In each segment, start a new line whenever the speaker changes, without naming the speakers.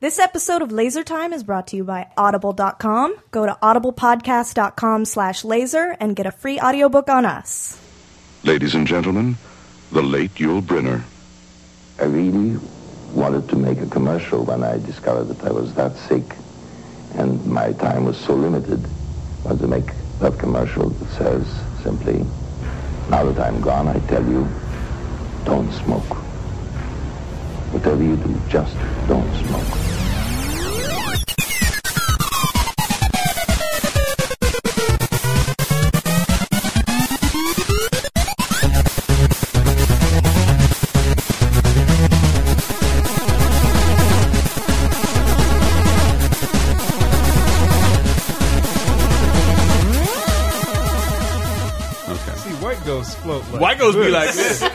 This episode of Laser Time is brought to you by Audible.com. Go to audiblepodcast.com slash laser and get a free audiobook on us.
Ladies and gentlemen, the late Yul Brynner.
I really wanted to make a commercial when I discovered that I was that sick and my time was so limited. I wanted to make that commercial that says simply, now that I'm gone, I tell you, don't smoke. Whatever you do, just don't smoke.
See, white ghosts float like
White ghosts be like this.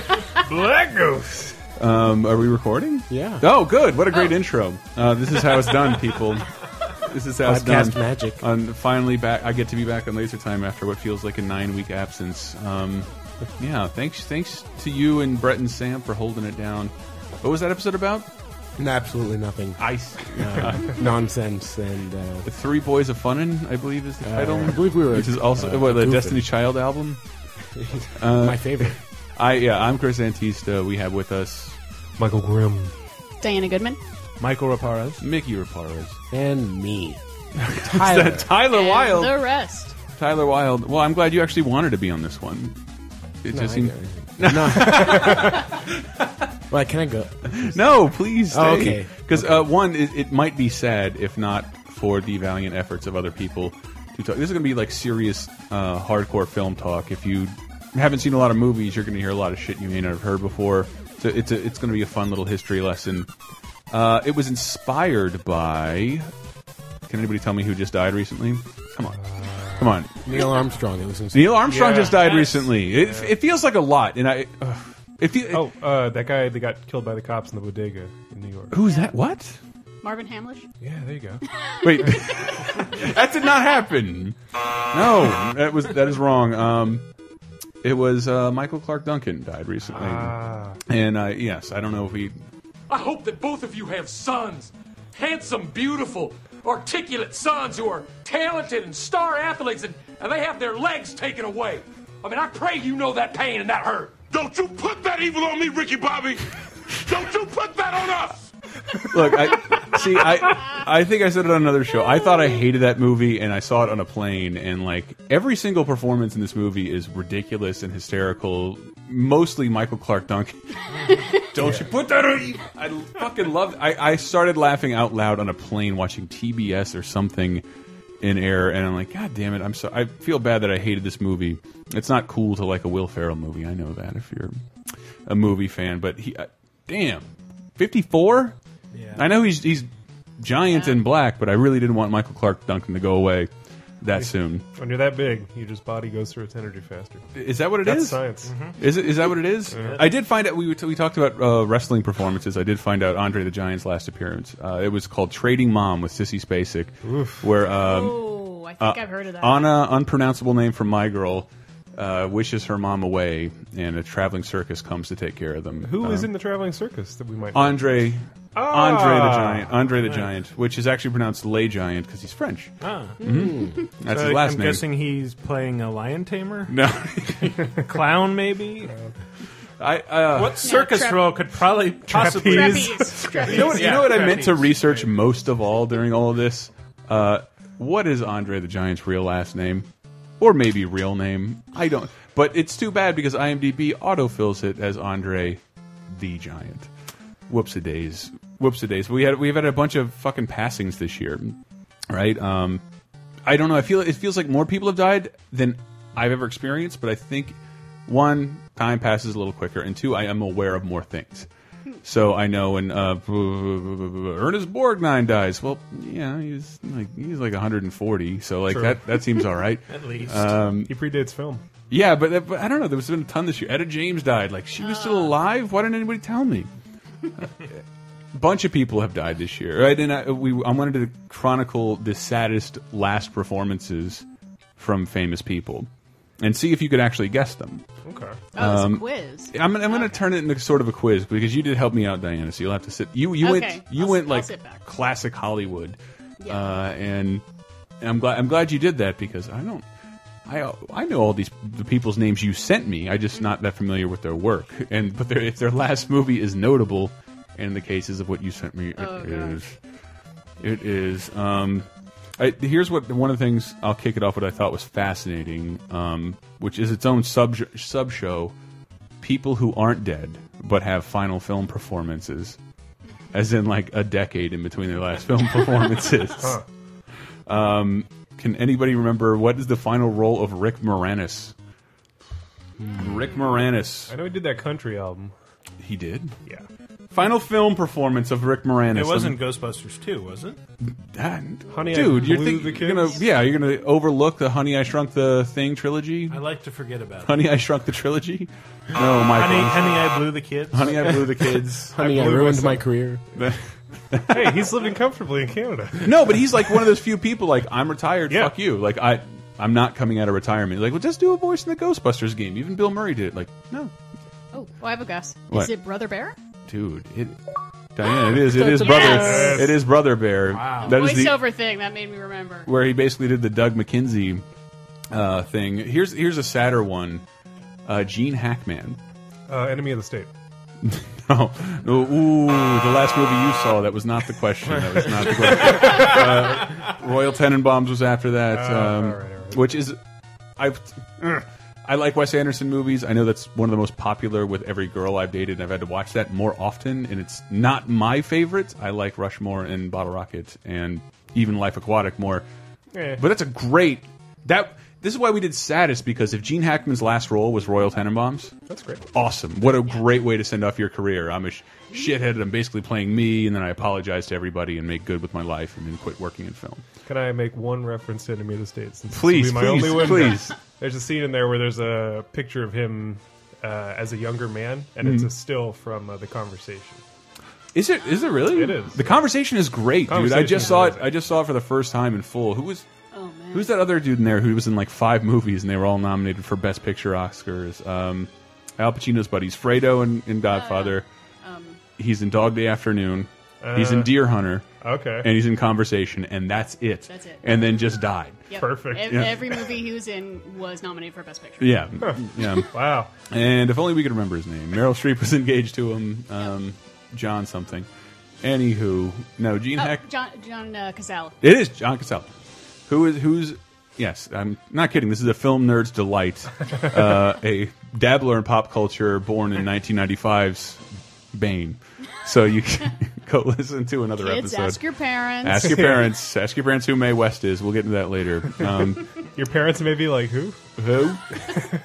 black ghosts.
Um, are we recording?
Yeah.
Oh, good. What a great intro. Uh, this is how it's done, people. This is how it's
Podcast
done.
magic.
On finally back, I get to be back on Laser Time after what feels like a nine-week absence. Um, yeah. Thanks, thanks to you and Brett and Sam for holding it down. What was that episode about?
No, absolutely nothing.
Ice.
Uh,
Hmm.
nonsense and uh,
Three Boys of Funnin, I believe, is the title.
I believe we were,
Which is also
uh,
what, the
goofing.
Destiny Child album.
uh,
Uh,
my favorite.
I yeah. I'm Chris Antista. We have with us
Michael Grimm.
Diana Goodman.
Michael Raparos.
Mickey Raparos.
And me.
Tyler,
and
Wilde.
The rest.
Tyler Wilde. Well, I'm glad you actually wanted to be on this one. It just seemed,
Well, can I go?
no, please. Stay.
Oh, okay.
Because uh, one, it, it might be sad if not for the valiant efforts of other people to talk. This is going to be like serious, uh, hardcore film talk. If you haven't seen a lot of movies, you're going to hear a lot of shit you may not have heard before. So it's a, it's going to be a fun little history lesson. Uh, it was inspired by. Can anybody tell me who just died recently? Come on, come on.
Neil Armstrong. It was in-
Neil Armstrong
Yeah.
just died
Yes.
recently. It, it feels like a lot, and I. Uh, it feel,
Oh, uh, that guy that got killed by the cops in the bodega in New York.
who's that? What?
Marvin Hamlish.
Yeah, there you go.
Wait, that did not happen. No, that was that is wrong. Um, it was uh, Michael Clark Duncan died recently,
Ah.
and uh, yes, I don't know if he.
I hope that both of you have sons. Handsome, beautiful, articulate sons who are talented and star athletes and, and they have their legs taken away. I mean, I pray you know that pain and that hurt. Don't you put that evil on me, Ricky Bobby! Don't you put that on us!
Look, I see. I I think I said it on another show. I thought I hated that movie, and I saw it on a plane, and like every single performance in this movie is ridiculous and hysterical. Mostly Michael Clark Duncan. Don't you put that on? you- I fucking love. I I started laughing out loud on a plane watching TBS or something in air, and I'm like, God damn it! I'm so. I feel bad that I hated this movie. It's not cool to like a Will Ferrell movie. I know that if you're a movie fan, but he, uh, damn, 54. I know he's he's giant and black, but I really didn't want Michael Clark Duncan to go away that soon.
When you're that big, your just body goes through its energy faster.
Is that what it is?
That's science.
Mm-hmm.
Is it? Is that what it is? I did find out. We were t- we talked about uh, wrestling performances. I did find out Andre the Giant's last appearance. Uh, it was called Trading Mom with Sissy Spacek, where um,
Oh, I think I've heard of that.
Anna, unpronounceable name from my girl, uh, wishes her mom away, and a traveling circus comes to take care of them.
Who
um,
Uh-huh.
is in the traveling circus that we might?
Andre?
Ah.
Andre the Giant. Andre the Giant, which is actually pronounced Lay Giant because he's French. Mm-hmm. That's his last
Ah. Hmm. Uh, I'm
name.
guessing he's playing a lion tamer,
no,
a clown maybe.
I. Uh,
What circus
trap-
role could probably possibly?
Trapeze.
Trapeze.
You know what, you know what I meant to
trapeze,
research most of all during all of this? Uh, what is Andre the Giant's real last name? Or maybe real name. I don't. But it's too bad because IMDb autofills it as Andre the Giant. Whoops a days. Whoops a days. We had we've had a bunch of fucking passings this year, right? Um, I don't know. I feel it feels like more people have died than I've ever experienced. But I think one time passes a little quicker, and two, I am aware of more things. So I know when uh, Ernest Borgnine dies. Well, yeah, he's like he's like 140. So like that that seems all right.
At least
He predates film.
yeah, but, but I don't know. There was been a ton this year. Etta James died. Like she was still alive. Why didn't anybody tell me? bunch of people have died this year, right? And I, we I wanted to chronicle the saddest last performances from famous people. and see if you could actually guess them.
Okay.
Oh, it's
Um,
a quiz.
I'm, I'm going to turn it into sort of a quiz because you did help me out, Diana. So you'll have to sit. You you
Okay,
went you
I'll
went
sit- I'll
like
sit back.
classic Hollywood,
Yeah.
uh, and and I'm glad I'm glad you did that because I don't. I, I know all these the people's names you sent me. I
Mm-hmm.
just not that familiar with their work, and but their, if their last movie is notable, in the cases of what you sent me, it
Oh,
is it is. Um, I, here's what one of the things I'll kick it off. What I thought was fascinating, um, which is its own sub sub show, people who aren't dead but have final film performances, as in like a decade in between their last film performances. um, can anybody remember what is the final role of Rick Moranis? Rick
Hmm. I
Moranis.
know he did that country album.
He did.
Yeah.
Final film performance of Rick Moranis.
It wasn't Ghostbusters 2, was it?
That,
Honey, I
dude, you're,
Blew
think,
the
you're gonna
Kids?
yeah, you're gonna overlook the Honey I Shrunk the Thing trilogy.
I like to forget about it.
Honey I Shrunk the trilogy. Oh No, Michael.
Honey,
Honey,
honey, I blew the kids.
I Blew the Kids.
Honey, I
blew
ruined my career.
hey, he's living comfortably in Canada.
no, but he's like one of those few people. Like I'm retired.
Yeah.
Fuck you. Like I, I'm not coming out of retirement. Like well, just do a voice in the Ghostbusters game. Even Bill Murray did it. Like no,
Oh, oh, I have a guess. Is
What?
it Brother Bear?
dude. It, Diana, it is. It is
Yes.
brother. It is brother bear. Wow. That is the-
Voiceover thing that made me remember.
where he basically did the Doug McKenzie uh, thing. Here's here's a sadder one. Uh, Gene Hackman.
Uh, enemy of the state.
Oh, no, ooh, the last movie you saw. That was not the question. That was not the question. uh, Royal Tenenbaums was after that, um,
Oh, all right, all right.
which is I've. ugh. I like Wes Anderson movies. I know that's one of the most popular with every girl I've dated, and I've had to watch that more often. And it's not my favorite. I like Rushmore and Bottle Rocket, and even Life Aquatic more.
Eh.
But that's a great that. This is why we did Saddest because if Gene Hackman's last role was Royal Tenenbaums,
That's great.
awesome. What a great way to send off your career. I'm a sh shithead and I'm basically playing me, and then I apologize to everybody and make good with my life and then quit working in film.
Can I make one reference to Enemy of the State? Since this will
Please,
be my
please,
only win?
please.
There's a scene in there where there's a picture of him uh, as a younger man, and
Mm-hmm.
it's a still from uh, the conversation.
Is it? Is it really?
It is.
The conversation is great, dude. I
Conversation
just
is
saw it.
amazing.
I just saw it for the first time in full. Who was?
Oh man.
Who's that other dude in there who was in like five movies and they were all nominated for Best Picture Oscars? Um, Al Pacino's buddies, Fredo and,
Oh,
and Godfather.
Um,
he's in Dog Day Afternoon. he's in Deer Hunter.
Uh, Okay.
And he's in Conversation, and that's it.
That's it.
And then just died.
Yep.
Perfect.
Ev-
Yeah.
Every movie he was in was nominated for Best Picture.
Yeah, yeah.
Wow.
And if only we could remember his name. Meryl Streep was engaged to him. Um, John something. Anywho, no, Gene
Oh,
Hack.
John John uh, Cazale.
It is John Cassell. Who is who's? Yes, I'm not kidding. This is a film nerd's delight. uh, a dabbler in pop culture, born in 1995's Bane. So you can go listen to another
Kids,
episode.
ask your parents.
Ask your parents. ask your parents who Mae West is. We'll get into that later. Um,
Your parents may be like, who?
who?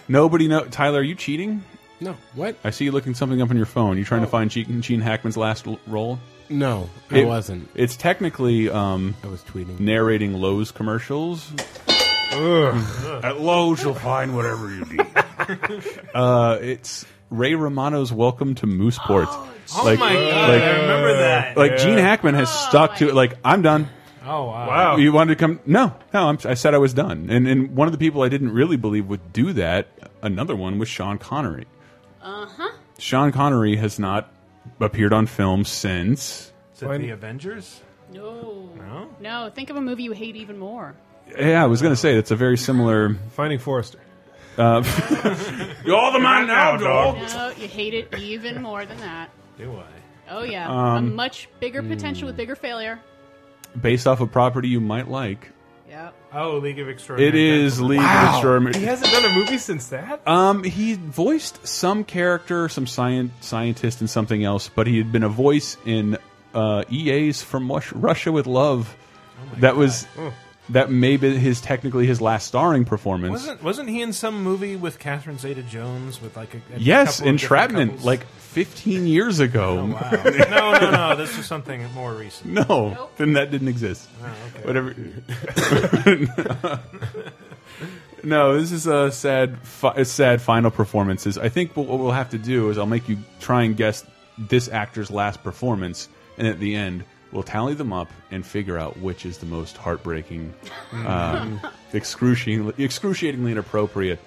Nobody know. Tyler, are you cheating?
No, what?
I see you looking something up on your phone. You
Oh.
trying to find Gene, Gene Hackman's last l- role?
No, I
It-
wasn't.
It's technically um,
I was tweeting.
narrating Lowe's commercials. At Lowe's, you'll find whatever you need. uh, it's Ray Romano's Welcome to Mooseport. Oh,
my God,
Like,
I remember that.
like Gene Hackman has stuck to it. Like I'm done.
Oh, wow. Wow.
You wanted to come? No, no. I'm, I said I was done. And and one of the people I didn't really believe would do that. Another one was Sean Connery. Uh huh. Uh-huh. Sean Connery has not appeared on film since.
Is it the Avengers?
No.
No?
No. Think of a movie you hate even more.
Yeah, I was going to say that's a very similar.
Finding Forrester.
You're the man now, dog.
No, you hate it even more than that.
Do I?
Oh yeah,
Um,
a much bigger potential
hmm.
with bigger failure.
Based off a property you might like.
Yep.
Oh, League of Extraordinary.
It is League of
He
Extraordinary.
hasn't done a movie since that?
Um, he voiced some character, some science scientist, and something else, but he had been a voice in uh, EA's From Rush Russia with Love.
Oh
that was that may be his technically his last starring performance.
Wasn't wasn't he in some movie with Catherine Zeta Jones with like a, a
yes,
couple of different
Entrapment,
couples? Oh,
like 15 years ago.
no no no this was something more recent.
No, then that didn't exist. Whatever. no, this is a sad, fi a sad final performances. I think what what we'll have to do is I'll make you try and guess this actor's last performance, and at the end We'll tally them up and figure out which is the most heartbreaking, um, excruciatingly, excruciatingly inappropriate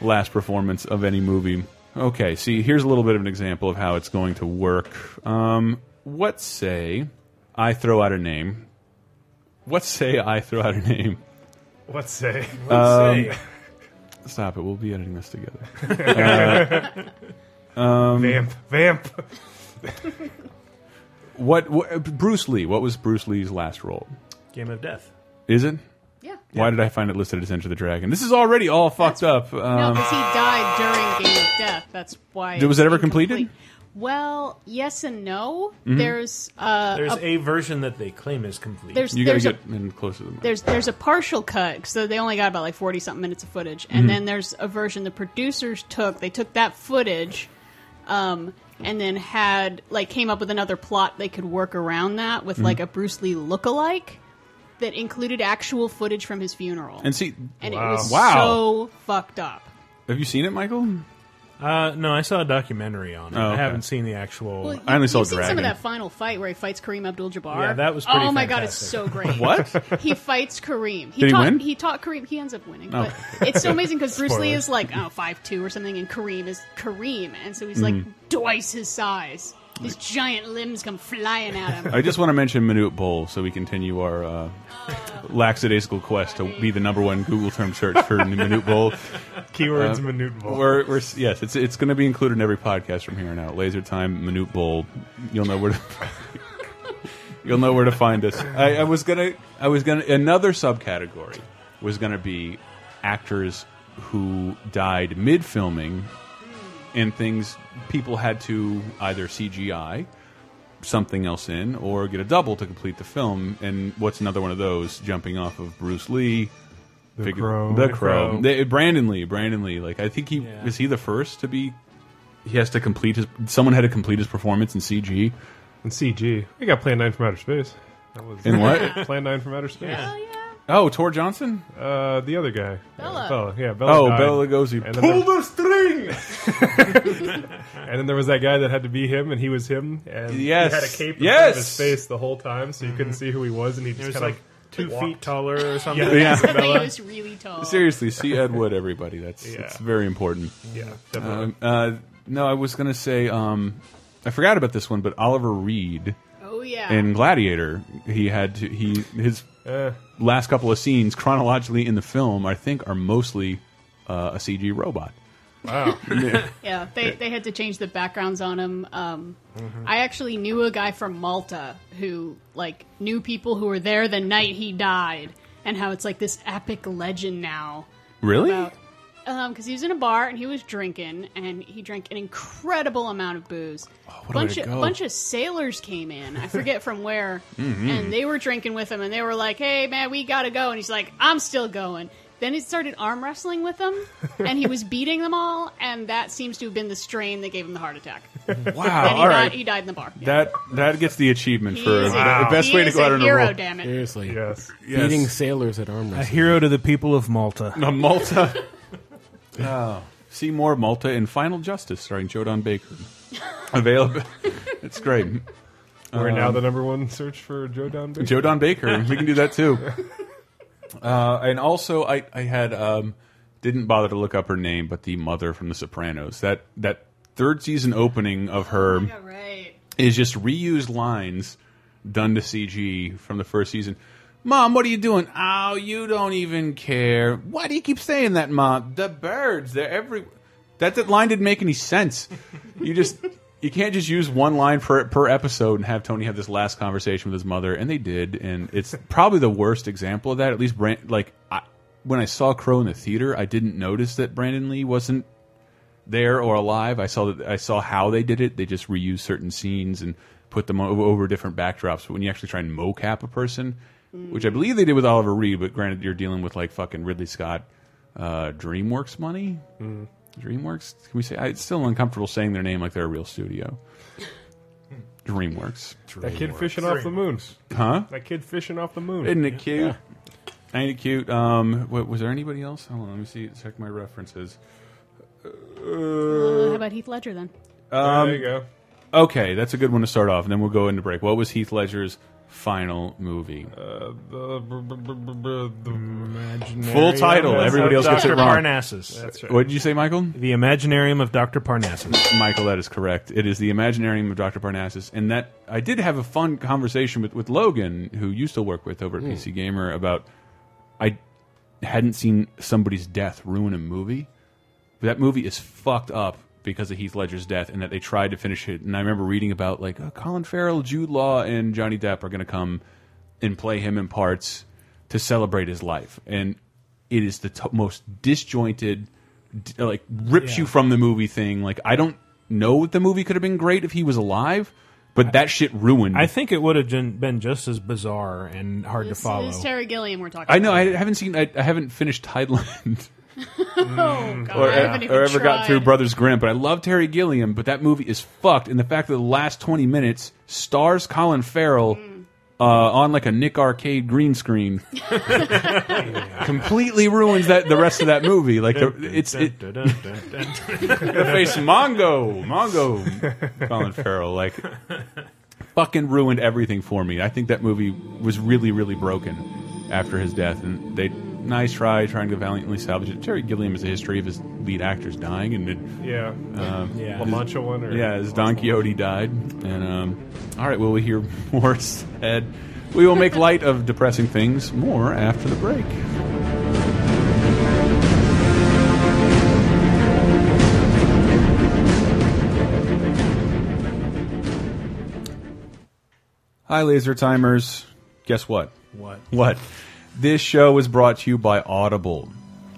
last performance of any movie. Okay, see, here's a little bit of an example of how it's going to work. Um, what say I throw out a name? What say I throw out a name?
Let's say.
um, Stop it. We'll be editing this together. Uh,
vamp. Vamp.
What, what Bruce Lee? What was Bruce Lee's last role?
Game of Death.
Is it?
Yeah.
Why did I find it listed as Enter the Dragon? This is already all fucked up.
No,
Um,
because he died during Game of Death. That's why.
Did- was it ever completed? Mm-hmm.
Well, yes and no. There's uh,
There's
a,
a version that they claim is complete.
there's
you got to
there's
get
a
in close to the mic.
there's there's a partial cut, so they only got about like forty something minutes of footage,
Mm-hmm.
and then there's a version the producers took. They took that footage, um, and then had like came up with another plot they could work around that
Mm-hmm.
with like a Bruce Lee lookalike that included actual footage from his funeral,
And see,
And it was
Wow.
so fucked up.
have you seen it, Michael?
uh, no, I saw a documentary on it.
Oh,
I
okay.
haven't seen the actual.
Well, you,
I only saw
you've seen some
Dragon.
of that final fight where he fights Kareem Abdul-Jabbar.
Yeah, that was
Oh
pretty
my god, it's
fantastic.
so great.
What?
He fights Kareem. He
Did he
taught,
win?
He taught Kareem. He ends up winning,
Oh.
but it's so amazing because Bruce Lee is like oh, five two or something, and Kareem is Kareem, and so he's
Mm.
like twice his size. His giant limbs come flying at him.
I just want to mention Minute Bowl so we continue our uh, lackadaisical quest to be the number one Google term search for Minute Bowl.
Keywords minute ball.
uh, We're, we're yes, it's it's going to be included in every podcast from here on out. Laser time, minute bowl. You'll know where to. you'll know where to find us. I, I was gonna. I was gonna. Another subcategory was gonna be actors who died mid filming, and things people had to either CGI something else in or get a double to complete the film. And what's another one of those? Jumping off of Bruce Lee.
The
Fig-
Crow.
The Crow. They- Brandon Lee. Brandon Lee. Like I think he
Yeah.
is he the first to be. He has to complete his. Someone had to complete his performance in CG.
And CG. We got Plan 9 from Outer Space. That was
In what?
Plan 9 from Outer Space.
Oh yeah,
Oh, Tor Johnson.
Uh, the other guy.
Bella.
Bella. Yeah, Bella.
Oh,
died.
Bela Lugosi.
And then
Pull
there-
the string.
And then there was that guy that had to be him, and he was him. And
Yes.
he had a cape in
Yes.
front of his face the whole time, so you couldn't see who he was, and he
Mm-hmm. it
just
was
kind
like
of
two
walked.
feet taller or something.
Yeah.
but he was really tall.
Seriously, see Ed Wood, everybody. That's
Yeah.
it's very important.
Yeah, definitely.
Um, uh, no, I was gonna say. Um, I forgot about this one, but Oliver Reed.
Oh yeah.
in Gladiator, he had to, he his
Eh.
last couple of scenes chronologically in the film, I think, are mostly uh, a CG robot.
Yeah, they, they had to change the backgrounds on him. Um, I actually knew a guy from Malta who like knew people who were there the night he died, and how it's like this epic legend now.
Really?
About because Um, he was in a bar and he was drinking, and he drank an incredible amount of booze.
Oh, a
bunch
way to
of
go.
bunch of sailors came in, I forget from where,
Mm-hmm.
and they were drinking with him, and they were like, "Hey man, we gotta go," and he's like, "I'm still going." Then he started arm wrestling with them, and he was beating them all, and that seems to have been the strain that gave him the heart attack. And
Wow!
he,
all
died,
right,
he died in the bar. Yeah.
that that gets the achievement
He
for
is a-
the best
he
way to
is
go
a
out on a
hero,
roll.
damn it.
Seriously.
yes.
Yes.
Beating sailors at arm
A
wrestling.
hero to the people of Malta.
A Oh. Malta. oh. See more Malta in Final Justice, starring Jodan Baker. Available. It's great.
We're now the number one search for Joe Don Baker.
Um, Joe Don Baker. we can do that too. Uh, and also, I I had um, didn't bother to look up her name, but the mother from The Sopranos. That that third season opening of her
Yeah, right.
is just reused lines done to CG from the first season. Mom, what are you doing? Oh, you don't even care. Why do you keep saying that, Mom? The birds, they're every. That, that line didn't make any sense. You just. You can't just use one line per, per episode and have Tony have this last conversation with his mother, and they did, and it's probably the worst example of that. At least, Brand, like I, when I saw Crow in the theater, I didn't notice that Brandon Lee wasn't there or alive. I saw that I saw how they did it. They just reused certain scenes and put them o- over different backdrops. But when you actually try and mocap a person, which I believe they did with Oliver Reed, but granted you're dealing with like fucking Ridley Scott, uh, DreamWorks money. DreamWorks. Can we say I, it's still uncomfortable saying their name like they're a real studio? DreamWorks.
That kid fishing off the moon.
Huh?
That kid fishing off the moon.
Isn't it cute? Ain't it cute? Um, wa- was there anybody else? Hold on, let me see. Check my references.
Uh, how about Heath Ledger then?
Um,
Uh, there you go.
Okay, that's a good one to start off, and then we'll go into break. What was Heath Ledger's final movie.
Imaginarium
Full title.
of
Everybody else gets it
Dr.
wrong.
Parnassus.
That's right.
What did you say, Michael?
The Imaginarium of Dr. Parnassus.
Michael, that is correct. It is the Imaginarium of Dr. Parnassus, and that I did have a fun conversation with with Logan, who you still work with over at PC Gamer, about I hadn't seen somebody's death ruin a movie. But that movie is fucked up because of Heath Ledger's death, and that they tried to finish it. And I remember reading about like oh, Colin Farrell, Jude Law, and Johnny Depp are going to come and play him in parts to celebrate his life, and it is the t most disjointed, d like rips you from the movie thing. Like I don't know if the movie could have been great if he was alive, but that shit ruined.
I think it would have been been just as bizarre and hard
This
to follow.
is Terry Gilliam we're talking
I know.
about.
I haven't seen. I, I haven't finished Tideland.
Oh, God.
or, uh,
I haven't even
or ever got
tried.
through Brothers Grimm, but I love Terry Gilliam, but that movie is fucked. And the fact that the last 20 minutes stars Colin Farrell
Mm.
uh, on like a Nick Arcade green screen completely ruins that the rest of that movie. Like the, it's it,
Dun, dun, dun, dun, dun.
the face Mongo, Mongo, Colin Farrell, like fucking ruined everything for me. I think that movie was really, really broken after his death, and they nice try trying to valiantly salvage it. Terry Gilliam has a history of his lead actors dying, and it,
Yeah.
um,
Yeah.
La Mancha one? Or
yeah, as Don Quixote died. And um, all right, well, we hear more said. We will make light of depressing things more after the break. Hi, laser timers. Guess what?
What?
What? This show is brought to you by Audible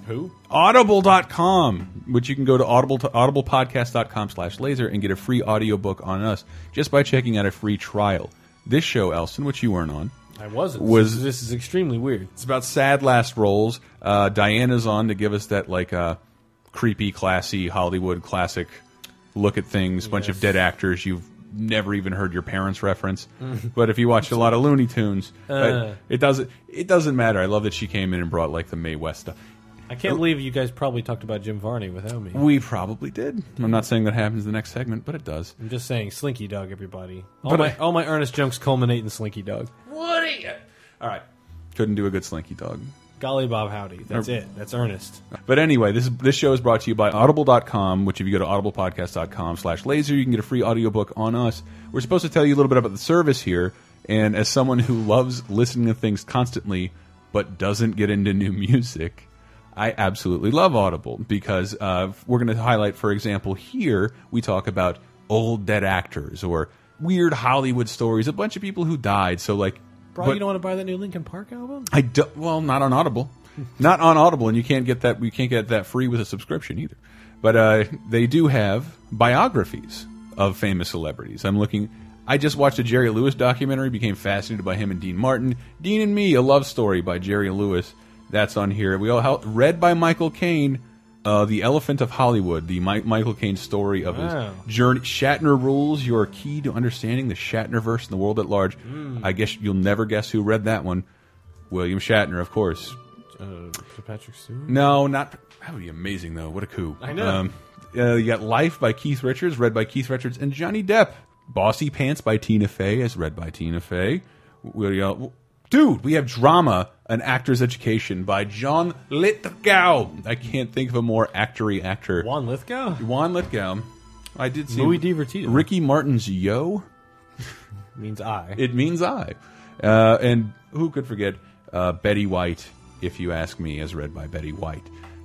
Who?
audible.com which you can go to audible to audiblepodcast.com slash laser and get a free audiobook on us just by checking out a free trial this show elson which you weren't on
I wasn't.
Was-
this is extremely weird.
it's about sad last roles uh, diana's on to give us that like uh, creepy classy hollywood classic look at things bunch of dead actors you've never even heard your parents reference
Mm-hmm.
but if you watched a lot of looney tunes uh, it doesn't it doesn't matter i love that she came in and brought like the may west stuff
I
Oh.
can't believe you guys probably talked about Jim Varney without me.
We probably did. I'm not saying that happens in the next segment, but it does.
I'm just saying, Slinky Dog, everybody. All my all my earnest jokes culminate in Slinky Dog.
All right. Couldn't do a good slinky dog.
Golly Bob Howdy, that's it. That's earnest.
But anyway, this this show is brought to you by audible.com, which if you go to audiblepodcast.com slash laser, you can get a free audiobook on us. We're supposed to tell you a little bit about the service here, and as someone who loves listening to things constantly but doesn't get into new music, I absolutely love Audible because uh, we're going to highlight, for example, here we talk about old dead actors or weird Hollywood stories, a bunch of people who died. So like,
Bro,
but-
you don't want to buy that new Lincoln Park album?
I do, well, not on Audible, not on Audible, and you can't get that. You can't get that free with a subscription either. But uh, they do have biographies of famous celebrities. I'm looking. I just watched a Jerry Lewis documentary. Became fascinated by him and Dean Martin. Dean and Me: A Love Story by Jerry Lewis. That's on here. We all hel- read by Michael Caine. Uh, the Elephant of Hollywood, the Mi Michael Caine story of
Wow.
his journey. Shatner rules your key to understanding the Shatnerverse and the world at large.
Hmm.
I guess you'll never guess who read that one. William Shatner, of course.
Uh, Patrick Stewart?
No, not. That would be amazing, though. What a coup.
I know.
uh, you got Life by Keith Richards, read by Keith Richards and Johnny Depp. Bossy Pants by Tina Fey, as read by Tina Fey. We, uh, dude, we have Drama, an Actor's Education by John Lithgow. I can't think of a more actory actor.
Juan Lithgow?
Juan Lithgow. I did see
Louis DiVertito.
Ricky Martin's Yo.
means I.
It means I. Uh, and who could forget uh, Betty White, if you ask me, as read by Betty White.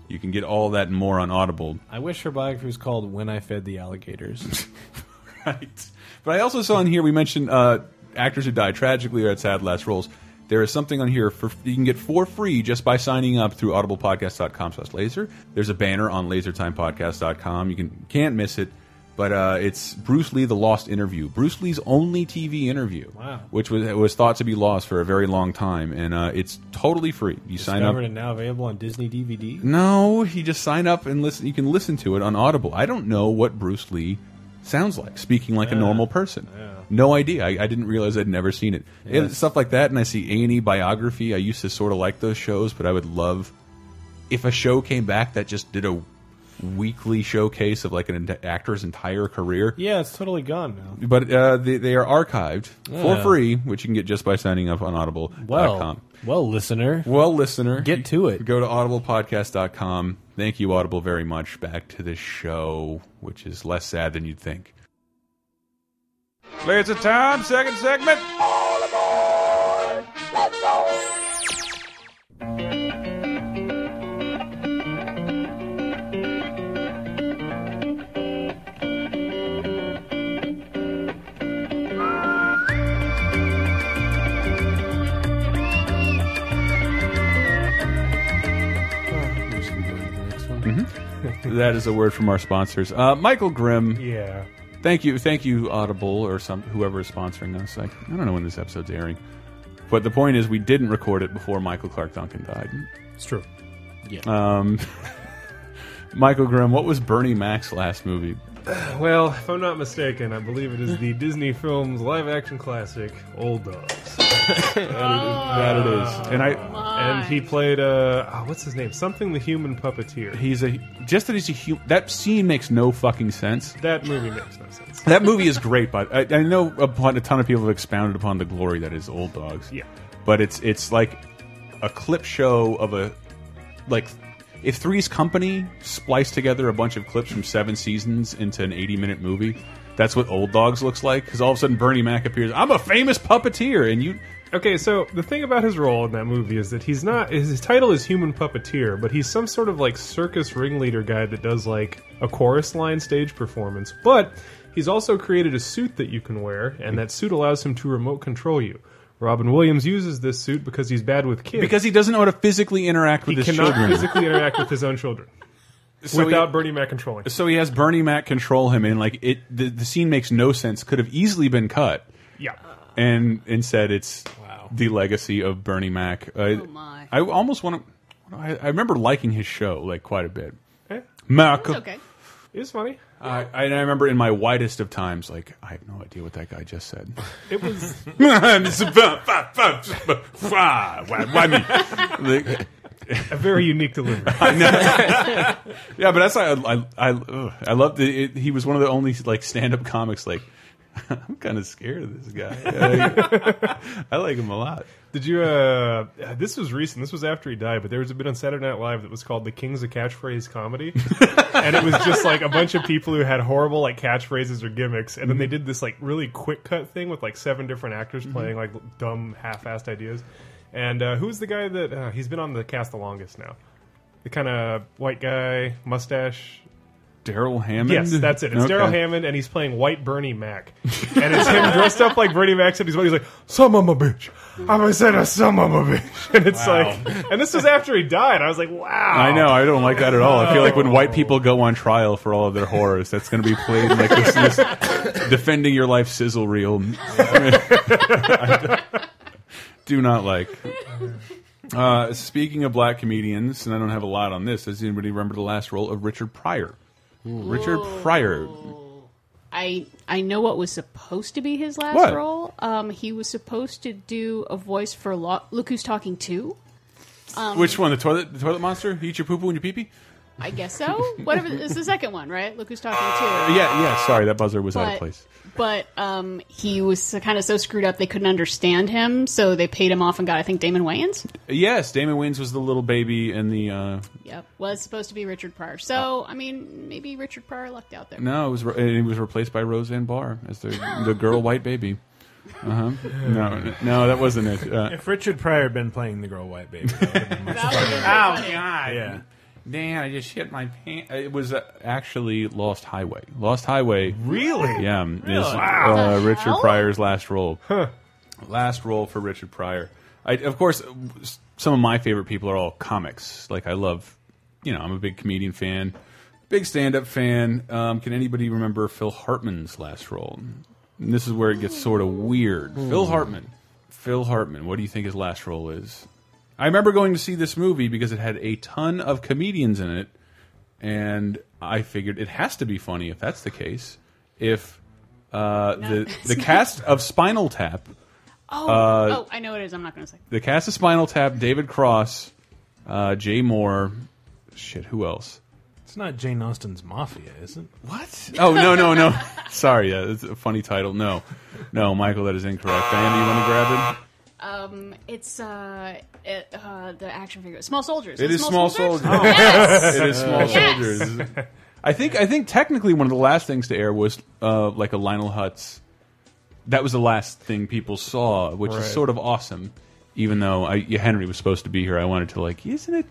You can get all that and more on Audible.
I wish her biography was called When I Fed the Alligators.
right. But I also saw in here, we mentioned uh, actors who died tragically or had sad last roles. There is something on here for you can get for free just by signing up through audiblepodcast.com slash laser. There's a banner on lasertimepodcast.com. You can, can't miss it. But uh, it's Bruce Lee, the lost interview. Bruce Lee's only TV interview,
Wow.
which was, was thought to be lost for a very long time. And uh, it's totally free. You sign up.
Discovered and now available on Disney DVD.
Mm.
No, you just sign up and listen. You can listen to it on Audible. I don't know what Bruce Lee sounds like, speaking like a normal person. No idea. I, I didn't realize I'd never seen it. And stuff like that, and I see A and E biography. I used to sort of like those shows, but I would love if a show came back that just did a weekly showcase of like an ent- actor's entire career.
Yeah, it's totally gone now.
But uh, they, they are archived for
Yeah.
free, which you can get just by signing up on Audible.com.
Well, well, listener.
Well, listener,
Get to it.
Go to audiblepodcast.com. Thank you, Audible, very much. Back to the show, which is less sad than you'd think. Players of time, second segment. That is a word from our sponsors. Uh, Michael Grimm,
Yeah.
thank you, thank you, Audible or some whoever is sponsoring us. I, I don't know when this episode's airing, but the point is we didn't record it before Michael Clark Duncan died.
It's true.
Michael Grimm, what was Bernie Mac's last movie?
Well, if I'm not mistaken, I believe it is the Disney film's live action classic, Old Dogs.
that it is, and I
and he played, uh, oh, what's his name? Something the Human Puppeteer.
he's a just that he's a human. That scene makes no fucking sense.
that movie makes no sense.
That movie is great, but I, I know upon a ton of people have expounded upon the glory that is Old Dogs.
Yeah.
but it's it's like a clip show of a like if Three's Company spliced together a bunch of clips from seven seasons into an eighty-minute movie. That's what Old Dogs looks like because all of a sudden Bernie Mac appears. I'm a famous puppeteer, and you
Okay, so the thing about his role in that movie is that he's not. His, his title is Human Puppeteer, but he's some sort of like circus ringleader guy that does like a chorus line stage performance. But he's also created a suit that you can wear, and that suit allows him to remote control you. Robin Williams uses this suit because he's bad with kids.
because he doesn't know how to physically interact with
he
his
cannot
children.
physically interact with his own children
So he-
without Bernie Mac controlling.
So he has Bernie Mac control him, and like it, the, the scene makes no sense. Could have easily been cut,
Yeah.
and instead it's the legacy of Bernie Mac. I, oh
my.
I almost want to. I, I remember liking his show like quite a bit.
Eh,
Mac.
It's okay.
It was funny.
I, I and I remember in my widest of times, like I have no idea what that guy just said.
It was.
It's about- fa- fa- fa- fa- Why why me? Like,
a very unique delivery.
Yeah, but that's why I I I, ugh, I love the it, he was one of the only like stand up comics like I'm kind of scared of this guy. I- I like him a lot.
Did you? uh This was recent. This was after he died, but there was a bit on Saturday Night Live that was called "The Kings of Catchphrase Comedy," and it was just like a bunch of people who had horrible like catchphrases or gimmicks, and then they did this like really quick cut thing with like seven different actors playing like dumb, half-assed ideas. And uh, who's the guy that uh, he's been on the cast the longest now? The kind of white guy, mustache,
Daryl Hammond.
Yes, that's it. It's
Okay.
Daryl Hammond, and he's playing White Bernie Mac, and it's him dressed up like Bernie Mac. And he's he's like, "Some of a bitch, I'm a said a some of a bitch," and it's like, and this was after he died. I was like, "Wow."
I know. I don't like that at all. I feel like when white people go on trial for all of their horrors, that's going to be played like this, this defending your life sizzle reel. do not like. Uh, speaking of black comedians, and I don't have a lot on this. Does anybody remember the last role of Richard Pryor? Richard Pryor.
I I know what was supposed to be his last
What?
role. Um, he was supposed to do a voice for Lo- Look Who's Talking Two.
Which one? The toilet, the toilet monster? Eat your poo poo and your pee pee?
I guess so. Whatever it's the second one, right? Look Who's Talking Two.
Uh, Yeah, yeah. Sorry, that buzzer was out of
But,
place.
but um, he was kind of so screwed up they couldn't understand him, so they paid him off and got I think Damon Wayans.
Yes, Damon Wayans was the little baby in the. Uh,
Yep, was supposed to be Richard Pryor. So I mean, maybe Richard Pryor lucked out there.
No, it was and he was replaced by Roseanne Barr as the the girl white baby. Uh huh. No, no, that wasn't it. Uh,
If Richard Pryor had been playing the girl white baby, that would've been much
God!
Yeah.
Dan, I just shit my pants. It was uh, actually Lost Highway. Lost Highway.
Really?
Yeah, um, is
Wow.
uh,
The
Richard
hell?
Pryor's last role. Last role for Richard Pryor. I, of course, s- some of my favorite people are all comics. Like I love, you know, I'm a big comedian fan, big stand-up fan. Um, can anybody remember Phil Hartman's last role? And this is where it gets sort of weird.
Hmm.
Phil Hartman. Phil Hartman. What do you think his last role is? I remember going to see this movie because it had a ton of comedians in it and I figured it has to be funny if that's the case. If uh, the the cast of Spinal Tap,
Oh,
Uh,
oh, I know what it is. I'm not going to say.
the cast of Spinal Tap, David Cross, uh, Jay Moore, shit, who else?
It's not Jane Austen's Mafia, is it?
What? Oh no no no! Sorry, yeah, it's a funny title. No, no, Michael, that is incorrect. Diana, you want to grab it?
Um, it's uh, it, uh, the action figure, Small Soldiers.
It
It's
is Small Soldiers.
Yes!
It is small
Yes.
soldiers. I think I think technically one of the last things to air was uh, like a Lionel Hutz. That was the last thing people saw, which
Right.
is sort of awesome. Even though I, yeah, Henry was supposed to be here, I wanted to like, isn't it?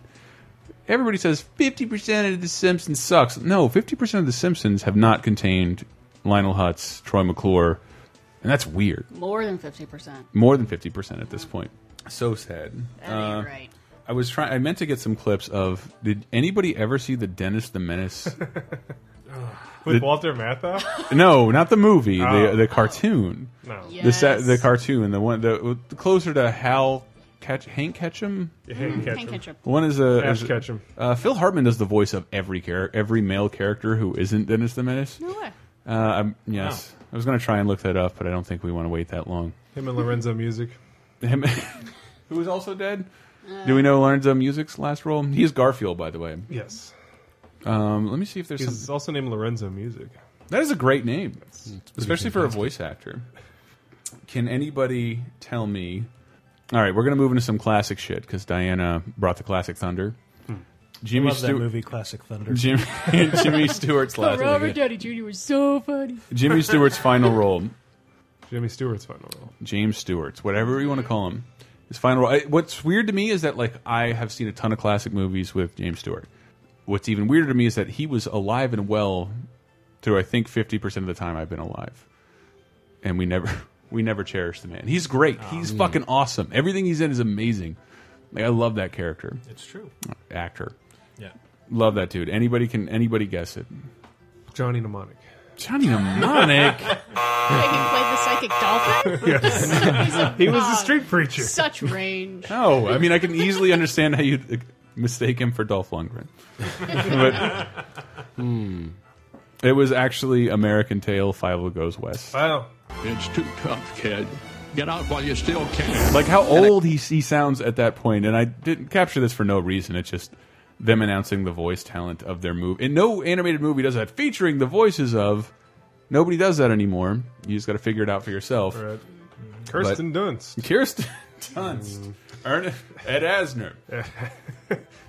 Everybody says fifty percent of the Simpsons sucks. No, fifty percent of the Simpsons have not contained Lionel Hutz, Troy McClure, and that's weird.
More than fifty percent.
More than fifty percent at this point. So sad. Uh,
That ain't right.
I was trying. I meant to get some clips of. Did anybody ever see the Dennis the Menace?
With Walter Matthau?
no, not the movie.
Oh.
The the cartoon.
No.
Yes.
The sa the cartoon. The one. The, the closer to Hal. Catch, Hank Ketchum.
Hank Ketchum.
Hank Ketchum.
One is a
Ash
is a-
Ketchum.
Uh, Phil Hartman does the voice of every char- every male character who isn't Dennis the Menace.
No way.
Uh, I'm, yes,
Oh.
I was going to try and look that up, but I don't think we want to wait that long.
Him and Lorenzo Music.
Him, who is also dead. Do we know Lorenzo Music's last role? He is Garfield, by the way.
Yes.
Um, let me see if there's some.
He's also named Lorenzo Music.
That is a great name, especially for a voice actor. Can anybody tell me? All right, we're going to move into some classic shit because Diana brought the classic thunder. Jimmy
Hmm. Love that
Stewart.
movie, Classic Thunder.
Jim, Jimmy Stewart's last.
Robert Downey Jr. was so funny.
Jimmy Stewart's final role.
Jimmy Stewart's final role.
James Stewart's, whatever you want to call him, his final role. I- What's weird to me is that like I have seen a ton of classic movies with James Stewart. What's even weirder to me is that he was alive and well through I think fifty percent of the time I've been alive, and we never we never cherish the Ah, man. He's great. he's fucking awesome. Everything he's in is amazing. Like I love that character
It's true.
actor.
Yeah.
Love that dude. Anybody can anybody guess it?
Johnny Mnemonic.
Johnny Mnemonic.
Wait, he played the psychic dolphin. He's a-
He was
wow.
a street preacher.
Such range.
No, I mean I can easily understand how you would mistake him for Dolph Lundgren. but hmm. it was actually American Tale: Five Goes West.
Wow.
It's too tough, kid. Get out while you still can.
Like how old he he sounds at that point, and I didn't capture this for no reason. It's just them announcing the voice talent of their movie, and no animated movie does that, featuring the voices of. Nobody does that anymore. You just got to figure it out for yourself.
Right. Kirsten Dunst.
Kirsten Dunst, Ernest Ed Asner.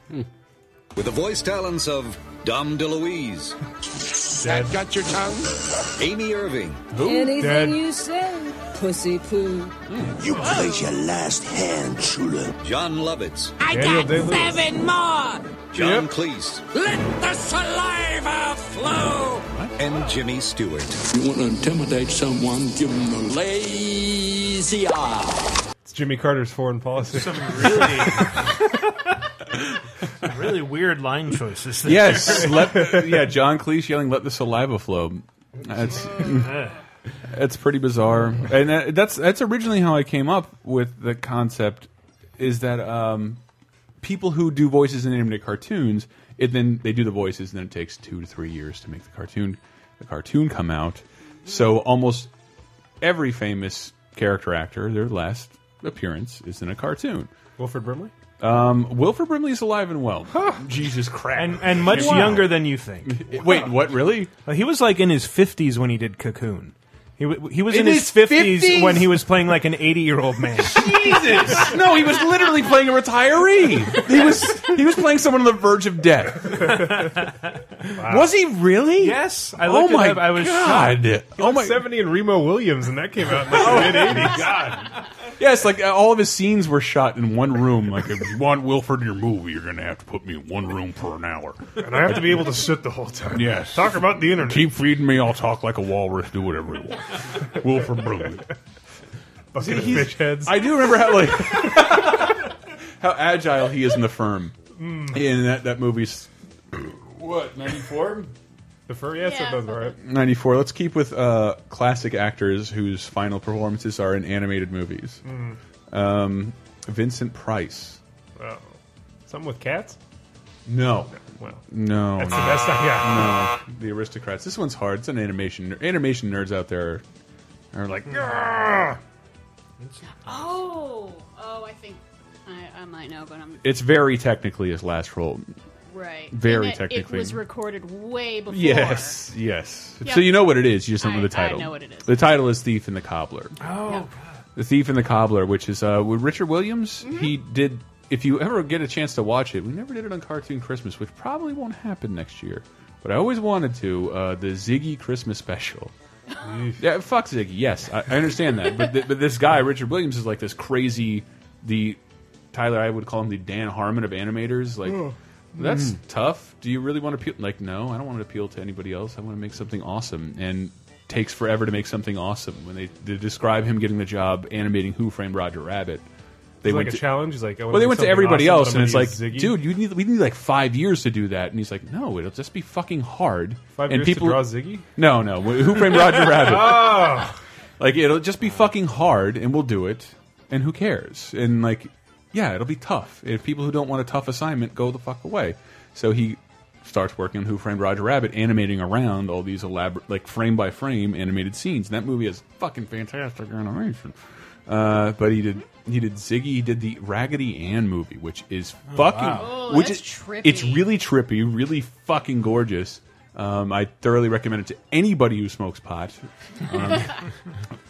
With the voice talents of Dom DeLuise,
Dad got your tongue?
Amy Irving,
Anything
Dead.
you say, pussy poo.
You place your last hand, Shula.
John Lovitz,
I
Daniel Day-Lewis.
seven more.
John Cleese,
Let the saliva flow.
and Jimmy Stewart.
You want to intimidate someone, give them the
Lazy eye.
It's Jimmy Carter's foreign policy.
Really, really weird line choices. there.
Yes, let, yeah. John Cleese yelling, "Let the saliva flow." That's that's pretty bizarre, and that, that's that's originally how I came up with the concept. Is that um, people who do voices in animated cartoons, it then they do the voices, and then it takes two to three years to make the cartoon the cartoon come out. So almost every famous character actor, their last appearance is in a cartoon.
Wilfred Brimley?
Wilford Brimley is alive and well. Jesus crap!
And, and much
Wow.
younger than you think.
Wait, what? Really?
Like, He was like in his 50s when he did Cocoon. He, w- he was in,
In
his,
his
50s,
50s?
when he was playing like an 80 year old man.
Jesus! No, he was literally playing a retiree. He was he was playing someone on the verge of death. Was he really?
yes, I
oh
looked
my
it up. I was shocked.
god! oh my
70 and Remo Williams, and that came out in like the mid 80s.
yes! Like uh, all of his scenes were shot in one room. Like if you want Wilford in your movie, you're
gonna have to put me in one room for an hour.
And I have to be able to sit the whole time.
Yes.
Talk about the internet.
Keep feeding me, I'll talk like a walrus, do whatever you want. Wilford Brimley.
Bucket of fish heads.
I do remember how like how agile he is in the firm.
Hmm.
In that that movie's what ninety four.
the fur, yes,
Yeah,
it does,
fuck
right?
94. Let's keep with uh, classic actors whose final performances are in animated movies. Um, Vincent Price.
Wow. Something with cats?
No.
Well,
No.
that's the best I got.
no. The Aristocrats. This one's hard. It's an animation. Animation nerds out there are like,
Ah!
Oh, oh, I think I, I might know, but I'm
it's very technically his last role.
Right.
Very
And that
technically.
It was recorded way before.
Yes, yes.
Yeah.
So you know what it is. You just don't know
I-
the title.
I know what it is.
The title is Thief and the Cobbler.
Oh.
The Thief and the Cobbler, which is uh, with Richard Williams. He did. If you ever get a chance to watch it, we never did it on Cartoon Christmas, which probably won't happen next year. But I always wanted to. Uh, the Ziggy Christmas special. yeah, fuck Ziggy. Yes, I, I understand that. But th but this guy Richard Williams is like this crazy. The Tyler, I would call him the Dan Harmon of animators. Like
Oh.
that's
Mm.
tough. Do you really want to appeal? Like, no, I don't want to appeal to anybody else. I want to make something awesome, and takes forever to make something awesome. When they, they describe him getting the job animating Who Framed Roger Rabbit, they
Is it
went
like a
to,
challenge? He's like, I wanna
well, they
make
went to
something
everybody
awesome,
else,
but
and
I'm
it's like,
gonna use Ziggy.
dude, you need we need like five years to do that, and he's like, no, it'll just be fucking hard.
Five
and
years to draw Ziggy?
No, no, Who Framed Roger Rabbit?
Oh.
Like it'll just be fucking hard, and we'll do it, and who cares? And like, yeah, it'll be tough. If people who don't want a tough assignment go the fuck away, so he starts working on Who Framed Roger Rabbit, animating around all these elaborate, like frame by frame animated scenes. And that movie is fucking fantastic animation. Uh, but he did he did Ziggy, he did the Raggedy Ann movie, which is
Oh,
fucking,
wow. Oh,
which
that's
is
trippy.
it's really trippy, really fucking gorgeous. Um, I thoroughly recommend it to anybody who smokes pot. Um,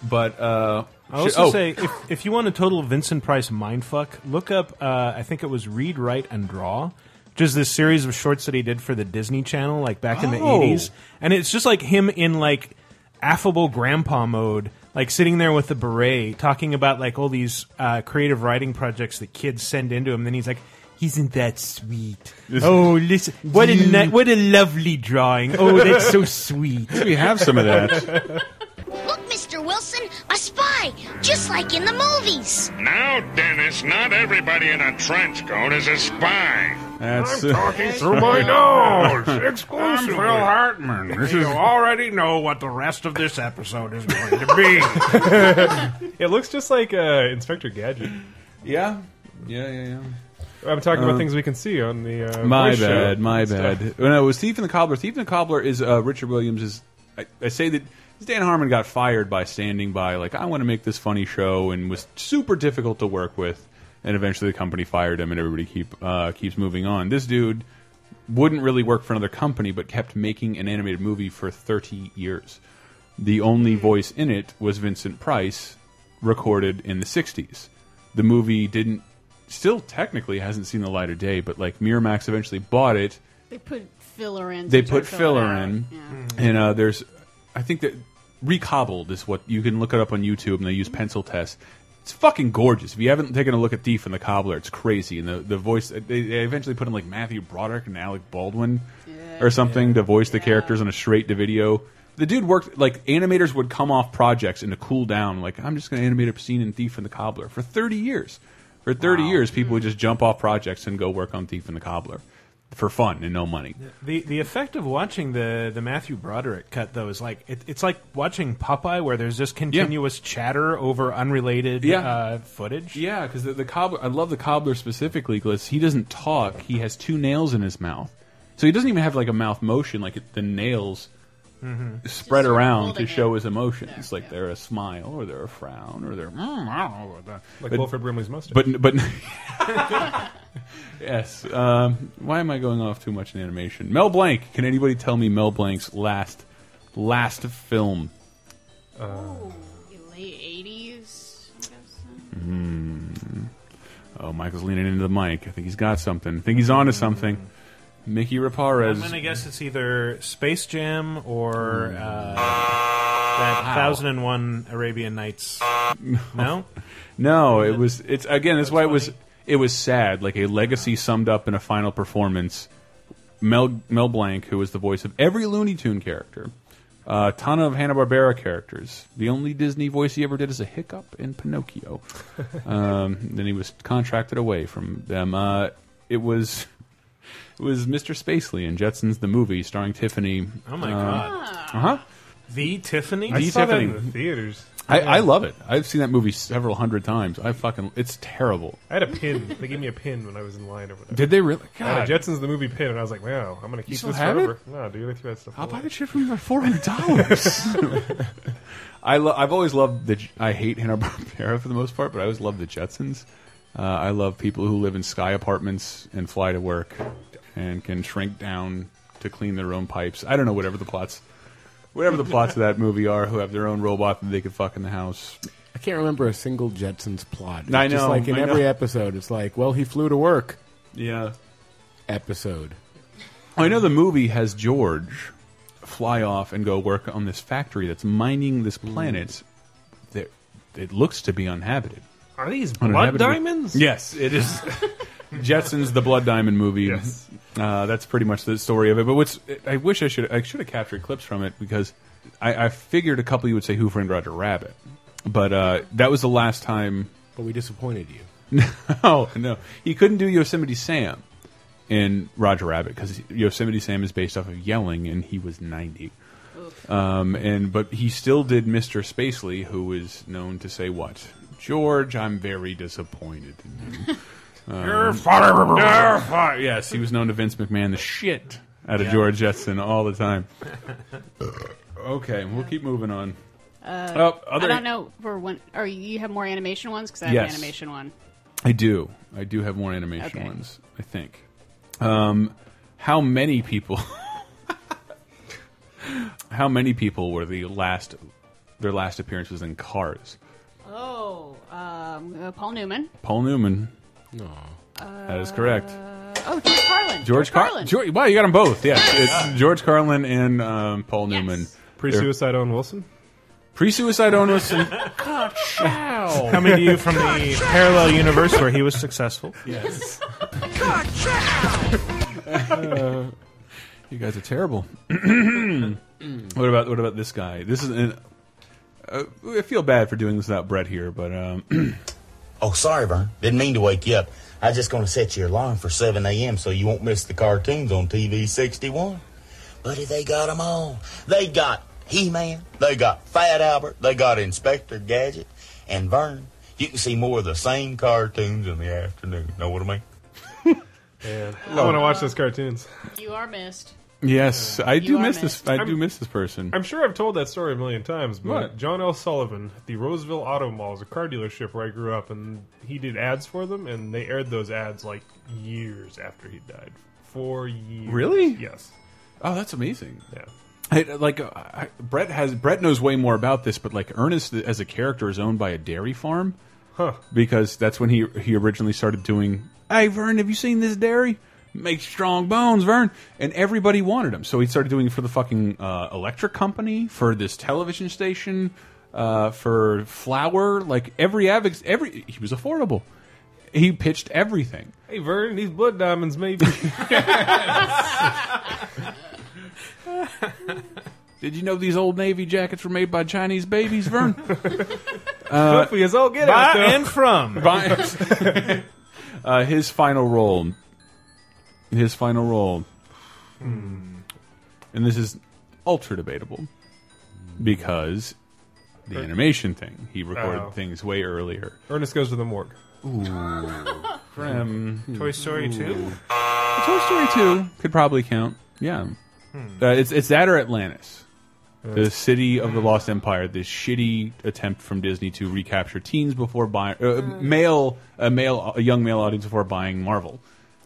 but uh,
I
shit-
also
oh,
say if, if you want a total Vincent Price mindfuck, look up. Uh, I think it was Read, Write, and Draw, which is this series of shorts that he did for the Disney Channel, like back in the
Oh.
eighties. And it's just like him in like affable grandpa mode, like sitting there with a beret, talking about like all these uh, creative writing projects that kids send into him. Then he's like. Isn't that sweet? oh, listen! What a
You-
ni- what a lovely drawing! Oh, that's so sweet.
Maybe have some of that.
Look, Mr. Wilson, a spy, just like in the movies.
Now, Dennis, not everybody in a trench coat is a spy.
That's-
I'm talking through my nose. Exclusive.
Phil Hartman.
This
you
is-
already know what the rest of this episode is going to be.
it looks just like uh, Inspector Gadget.
Yeah, yeah, yeah, yeah.
I'm talking about
Um,
things we can see on the. Uh,
my
voice show
bad, my
and stuff.
bad. No, it was Thief and the Cobbler. Thief and the Cobbler is uh, Richard Williams. Is I, I say that Dan Harmon got fired by standing by, like I want to make this funny show, and was super difficult to work with. And eventually, the company fired him, and everybody keep uh, keeps moving on. This dude wouldn't really work for another company, but kept making an animated movie for thirty years. The only voice in it was Vincent Price, recorded in the 60s. The movie didn't still technically hasn't seen the light of day, but like Miramax eventually bought it.
They put filler in.
They
to
put
fill it
filler
out.
in. And uh there's I think that Recobbled is what you can look it up on YouTube and they use pencil tests. It's fucking gorgeous. If you haven't taken a look at Thief and the Cobbler, it's crazy. And the the voice they, they eventually put in like Matthew Broderick and Alec Baldwin or something to voice the characters on a straight to video. The dude worked like animators would come off projects and to cool down, like I'm just going to animate a scene in Thief and the Cobbler for 30 years. For 30 years, people
Mm.
would just jump off projects and go work on Thief and the Cobbler for fun and no money.
The the effect of watching the the Matthew Broderick cut though is like it, it's like watching Popeye where there's just continuous chatter over unrelated uh, footage.
Yeah, because the, the cobbler. I love the cobbler specifically because he doesn't talk. He has two nails in his mouth, so he doesn't even have like a mouth motion. Like it, the nails
Mhm.
spread around to show his emotions. like they're a smile or they're a frown or they're. Mm, I don't know about that.
Like
But-
Wilford Brimley's mustache.
But but yes. Um, why am I going off too much in animation? Mel Blanc. Can anybody tell me Mel Blanc's last last film?
Late eighties.
Hmm. Oh, Michael's leaning into the mic. I think he's got something. I think he's onto something. Mickey
I'm
Raparez.
gonna guess it's either Space Jam or
Hmm.
uh, that Thousand and One Arabian Nights. No,
No, it was. It's again. That's why it was. It was sad. Like a legacy summed up in a final performance. Mel Mel Blanc, who was the voice of every Looney Tune character, a ton of Hanna Barbera characters. The only Disney voice he ever did is a hiccup in Pinocchio. um, then he was contracted away from them. Uh, it was. It was Mr. Spacely in Jetsons the movie, starring Tiffany.
Oh my
um,
God.
Uh huh.
the Tiffany.
The Tiffany. I, I love it. I've seen that movie several hundred times. I fucking. It's terrible.
I had a pin. They gave me a pin when I was in line or whatever.
Did they really?
I had a
God.
Jetsons the movie pin, and I was like, wow, I'm gonna keep
still
this
have it?
forever. No, dude, they threw that stuff.
I'll
away.
buy the shit from you for four hundred dollars. I lo- I've always loved the. J- I hate Hanna Barbera for the most part, but I always love the Jetsons. Uh, I love people who live in sky apartments and fly to work. and can shrink down to clean their own pipes. I don't know whatever the plots, whatever the plots of that movie are. Who have their own robot that they could fuck in the house.
I can't remember a single Jetsons plot. It's
I
Just
know,
like in
I
every
know.
episode, it's like, well, he flew to work.
Yeah.
Episode.
I know the movie has George fly off and go work on this factory that's mining this
Mm.
planet that it looks to be uninhabited.
Are these blood
Uninhabited-
diamonds?
Yes, it is. Jetsons, the Blood Diamond movie. Uh, that's pretty much the story of it. But what's I wish I should I should have captured clips from it because I, I figured a couple you would say Who Framed Roger Rabbit, but uh, that was the last time.
But we disappointed you.
No, no, he couldn't do Yosemite Sam in Roger Rabbit because Yosemite Sam is based off of yelling, and he was ninety. Um, and but he still did Mr. Spacely, who is known to say what George, I'm very disappointed in you. Um,
You're fired.
You're fired. Yes, he was known to Vince McMahon the shit out of
Yeah.
George Jetson all the time. okay, we'll keep moving on.
Uh,
Oh, other-
I don't know for when. Or you have more animation ones because I have
Yes.
an animation one.
I do. I do have more animation
Okay.
ones. I think. Um, how many people? how many people were the last? Their last appearance was in Cars.
Oh, um, uh, Paul Newman.
Paul Newman.
No.
That is correct.
Oh, George Carlin.
Uh, George Carlin. George, wow, you got them both. Yeah, it's George Carlin and um, Paul Newman.
Pre-suicide Owen Wilson.
Pre-suicide Owen Wilson.
Coming to you from the parallel universe where he was successful.
Yes. you guys are terrible. what about what about this guy? This is an, uh, I feel bad for doing this without Brett here, but um,
Oh, sorry, Vern. Didn't mean to wake you up. I was just going to set your alarm for 7 a.m. so you won't miss the cartoons on TV 61. Buddy, they got 'em all. They got He-Man. They got Fat Albert. They got Inspector Gadget. And Vern, you can see more of the same cartoons in the afternoon. Know what I mean?
I want to watch those cartoons.
You are missed.
yes, I
You
do
are
miss this.
missed.
I do
I'm-
miss this person.
I'm sure I've told that story a million times, but
What?
John L. Sullivan, the Roseville Auto Mall, is a car dealership where I grew up, and he did ads for them, and they aired those ads like years after he died. Four years.
Really?
Yes.
Oh, that's amazing.
Yeah.
I, like uh, I, Brett has Brett knows way more about this, but like Ernest as a character is owned by a dairy farm,
Huh.
Because that's when he he originally started doing. Hey Vern, have you seen this dairy? Makes strong bones, Vern. And everybody wanted him, so he started doing it for the fucking uh, electric company, for this television station, uh, for flour. Like every avid, every he was affordable. He pitched everything.
Hey, Vern, these blood diamonds, maybe.
Did you know these old navy jackets were made by Chinese babies, Vern? Uh,
Filthy as all get out, though.
By- uh, his final role. His final role. And this is ultra debatable because the animation thing. He recorded
Oh.
things way earlier.
Ernest goes to the morgue.
Grim.
Toy Story 2?
Toy Story 2 could probably count. Yeah.
Hmm.
Uh, it's, it's that or Atlantis.
Yeah.
The city of the lost empire, this shitty attempt from Disney to recapture teens before buying uh, male a male a young male audience before buying Marvel.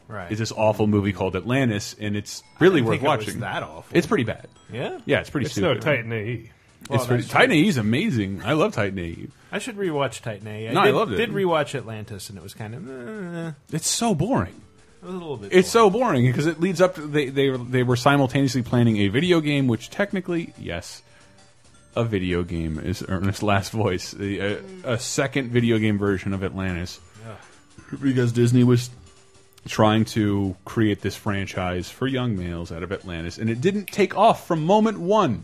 Right. Hmm.
Is this awful movie called Atlantis, and it's really
didn't
worth
think it was
watching.
that awful.
It's pretty bad.
Yeah?
Yeah, it's pretty
It's
stupid.
no Titan E. AE. Well,
it's pretty,
that's
Titan AE is amazing. I love Titan AE.
I should rewatch Titan A.
No, I
did,
loved it.
Did rewatch Atlantis, and it was kind of uh,
It's so boring.
a little bit.
It's so boring because it leads up to they they they were simultaneously planning a video game, which technically, yes, a video game is Ernest's last voice, the- a, a second video game version of Atlantis, because Disney was trying to create this franchise for young males out of Atlantis, and it didn't take off from moment one.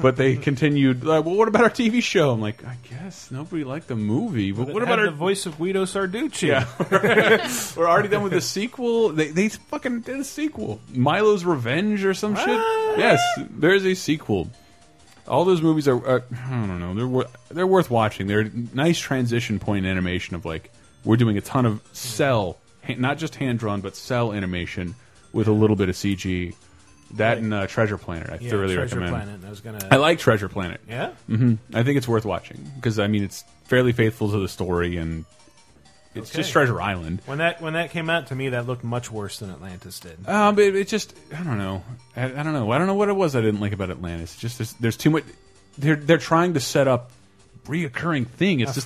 But they continued. Like, well, what about our TV show? I'm like, I guess nobody liked the movie. But,
But it
what
had
about our
the voice of Guido Sarducci?
yeah. We're already done with the sequel. They, they fucking did a sequel. Milo's Revenge or some shit. Yes, there's a sequel. All those movies are, uh, I don't know, they're, wor they're worth watching. They're a nice transition point in animation of like, we're doing a ton of cell, ha- not just hand drawn, but cell animation with a little bit of CG. That and uh, Treasure Planet, I
Yeah,
thoroughly
Treasure
recommend.
Planet, I was gonna-
I like Treasure Planet. Mm-hmm.
Yeah?
hmm I think it's worth watching because I mean it's fairly faithful to the story and It's
Okay.
just Treasure Island.
When that when that came out to me, that looked much worse than Atlantis did.
Um, but it, it just I don't know. I, I don't know. I don't know what it was I didn't like about Atlantis. Just there's, there's too much. They're they're trying to set up reoccurring thing. It's
A
just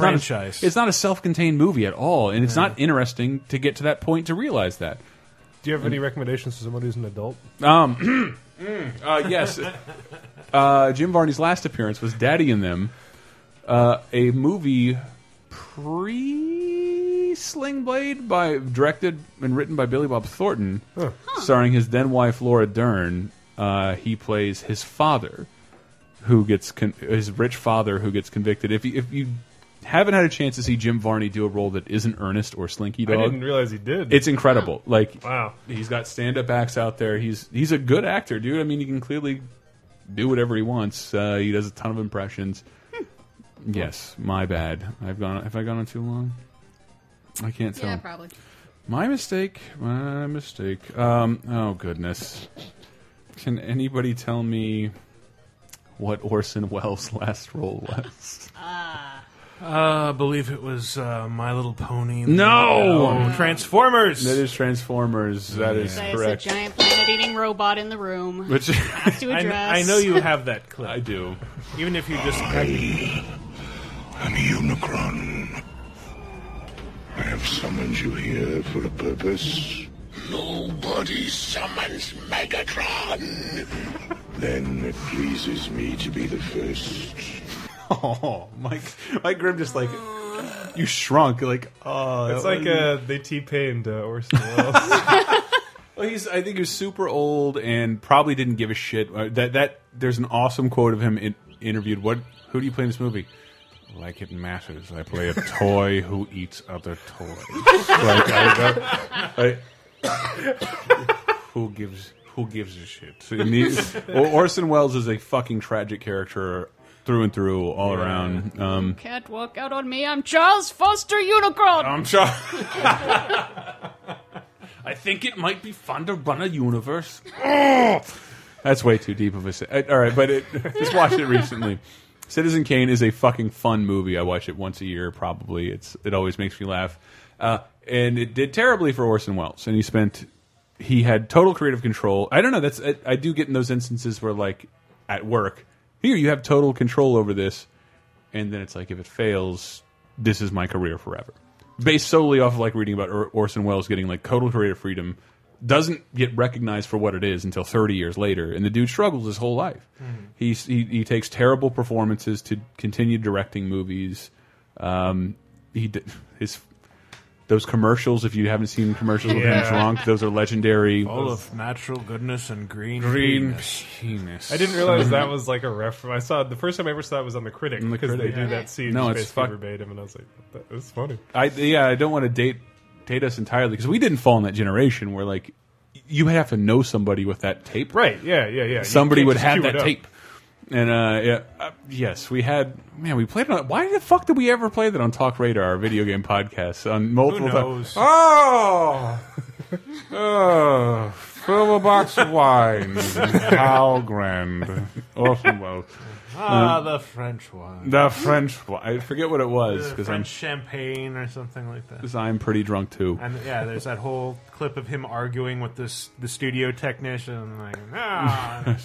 not.
franchise.
A, it's not a self-contained movie at all, and it's not interesting to get to that point to realize that.
Do you have any recommendations for someone who's an adult?
Um, uh, yes. Uh, Jim Varney's last appearance was Daddy and Them, uh, a movie pre Sling Blade by directed and written by Billy Bob Thornton,
Huh.
starring his then wife Laura Dern. Uh, he plays his father, who gets con his rich father who gets convicted. If you, if you haven't had a chance to see Jim Varney do a role that isn't Ernest or Slinky
I
Dog,
didn't realize he did.
it's incredible. Like
Wow.
he's got stand up acts out there. He's he's a good actor, dude. I mean, he can clearly do whatever he wants. Uh, he does a ton of impressions. yes, my bad. I've gone. Have I gone on too long? I can't tell.
Yeah, probably.
My mistake. My mistake. Um, oh goodness. Can anybody tell me what Orson Welles' last role was?
Uh, I believe it was uh, My Little Pony.
No!
No, Transformers.
That is Transformers. That is
There's a
correct.
giant planet-eating robot in the room.
Which
has to
I, kn-
address.
I know you have that clip. I
do.
Even if you just
I'm Unicron. I have summoned you here for a purpose. Nobody summons Megatron. then it pleases me to be the first.
Oh, Mike, Mike Grimm just like you shrunk. Like, oh,
It's
that
like
was-
uh, they T-Pained uh, Orson Welles.
Well, he's. I think he was super old and probably didn't give a shit. Uh, That that there's an awesome quote of him in, interviewed. What? Who do you play in this movie? Like it matters. I play a toy who eats other toys. like I, don't- I- who gives who gives a shit? And he's- Or- Orson Welles is a fucking tragic character through and through, all around. Um,
Can't walk out on me. I'm Charles Foster Unicron.
I'm sure. I think it might be fun to run a universe. That's way too deep of a. se- uh, All right, but it, just watched it recently. Citizen Kane is a fucking fun movie. I watch it once a year, probably. It's it always makes me laugh, uh, and it did terribly for Orson Welles, and he spent he had total creative control. I don't know. That's I, I do get in those instances where like at work, here you have total control over this, and then it's like if it fails, this is my career forever. Based solely off of like reading about or Orson Welles getting like total creative freedom, doesn't get recognized for what it is until 30 years later, and the dude struggles his whole life.
Mm-hmm.
He's, he he takes terrible performances to continue directing movies. Um, he d- his those commercials. If you haven't seen commercials with him
Yeah.
drunk, those are legendary.
full of natural goodness and green
Green
penis.
penis. Uh,
I didn't realize that was like a reference. I saw the first time I ever saw it was on the critic
the
because they
Critic.
do
Yeah.
that scene
No,
no,
it's
it's
fuck-
verbatim, and I was like, that, that's funny.
I yeah, I don't want to date date us entirely because we didn't fall in that generation where like you have to know somebody with that tape,
Right? Yeah, yeah, yeah. You
Somebody
can't
would
just
have
queue it
that
up.
tape, and uh, yeah, uh, yes, we had. Man, we played it on. Why the fuck did we ever play that on Talk Radar, our video game podcast, on multiple times?
knows?
Oh, oh, fill a box of wine, how grand, awesome, well.
Ah,
Um,
the French one.
the French. one. I forget what it was
The
because
French
I'm
champagne or something like that.
because I'm pretty drunk too.
And yeah, there's that whole clip of him arguing with this the studio technician, like, ah,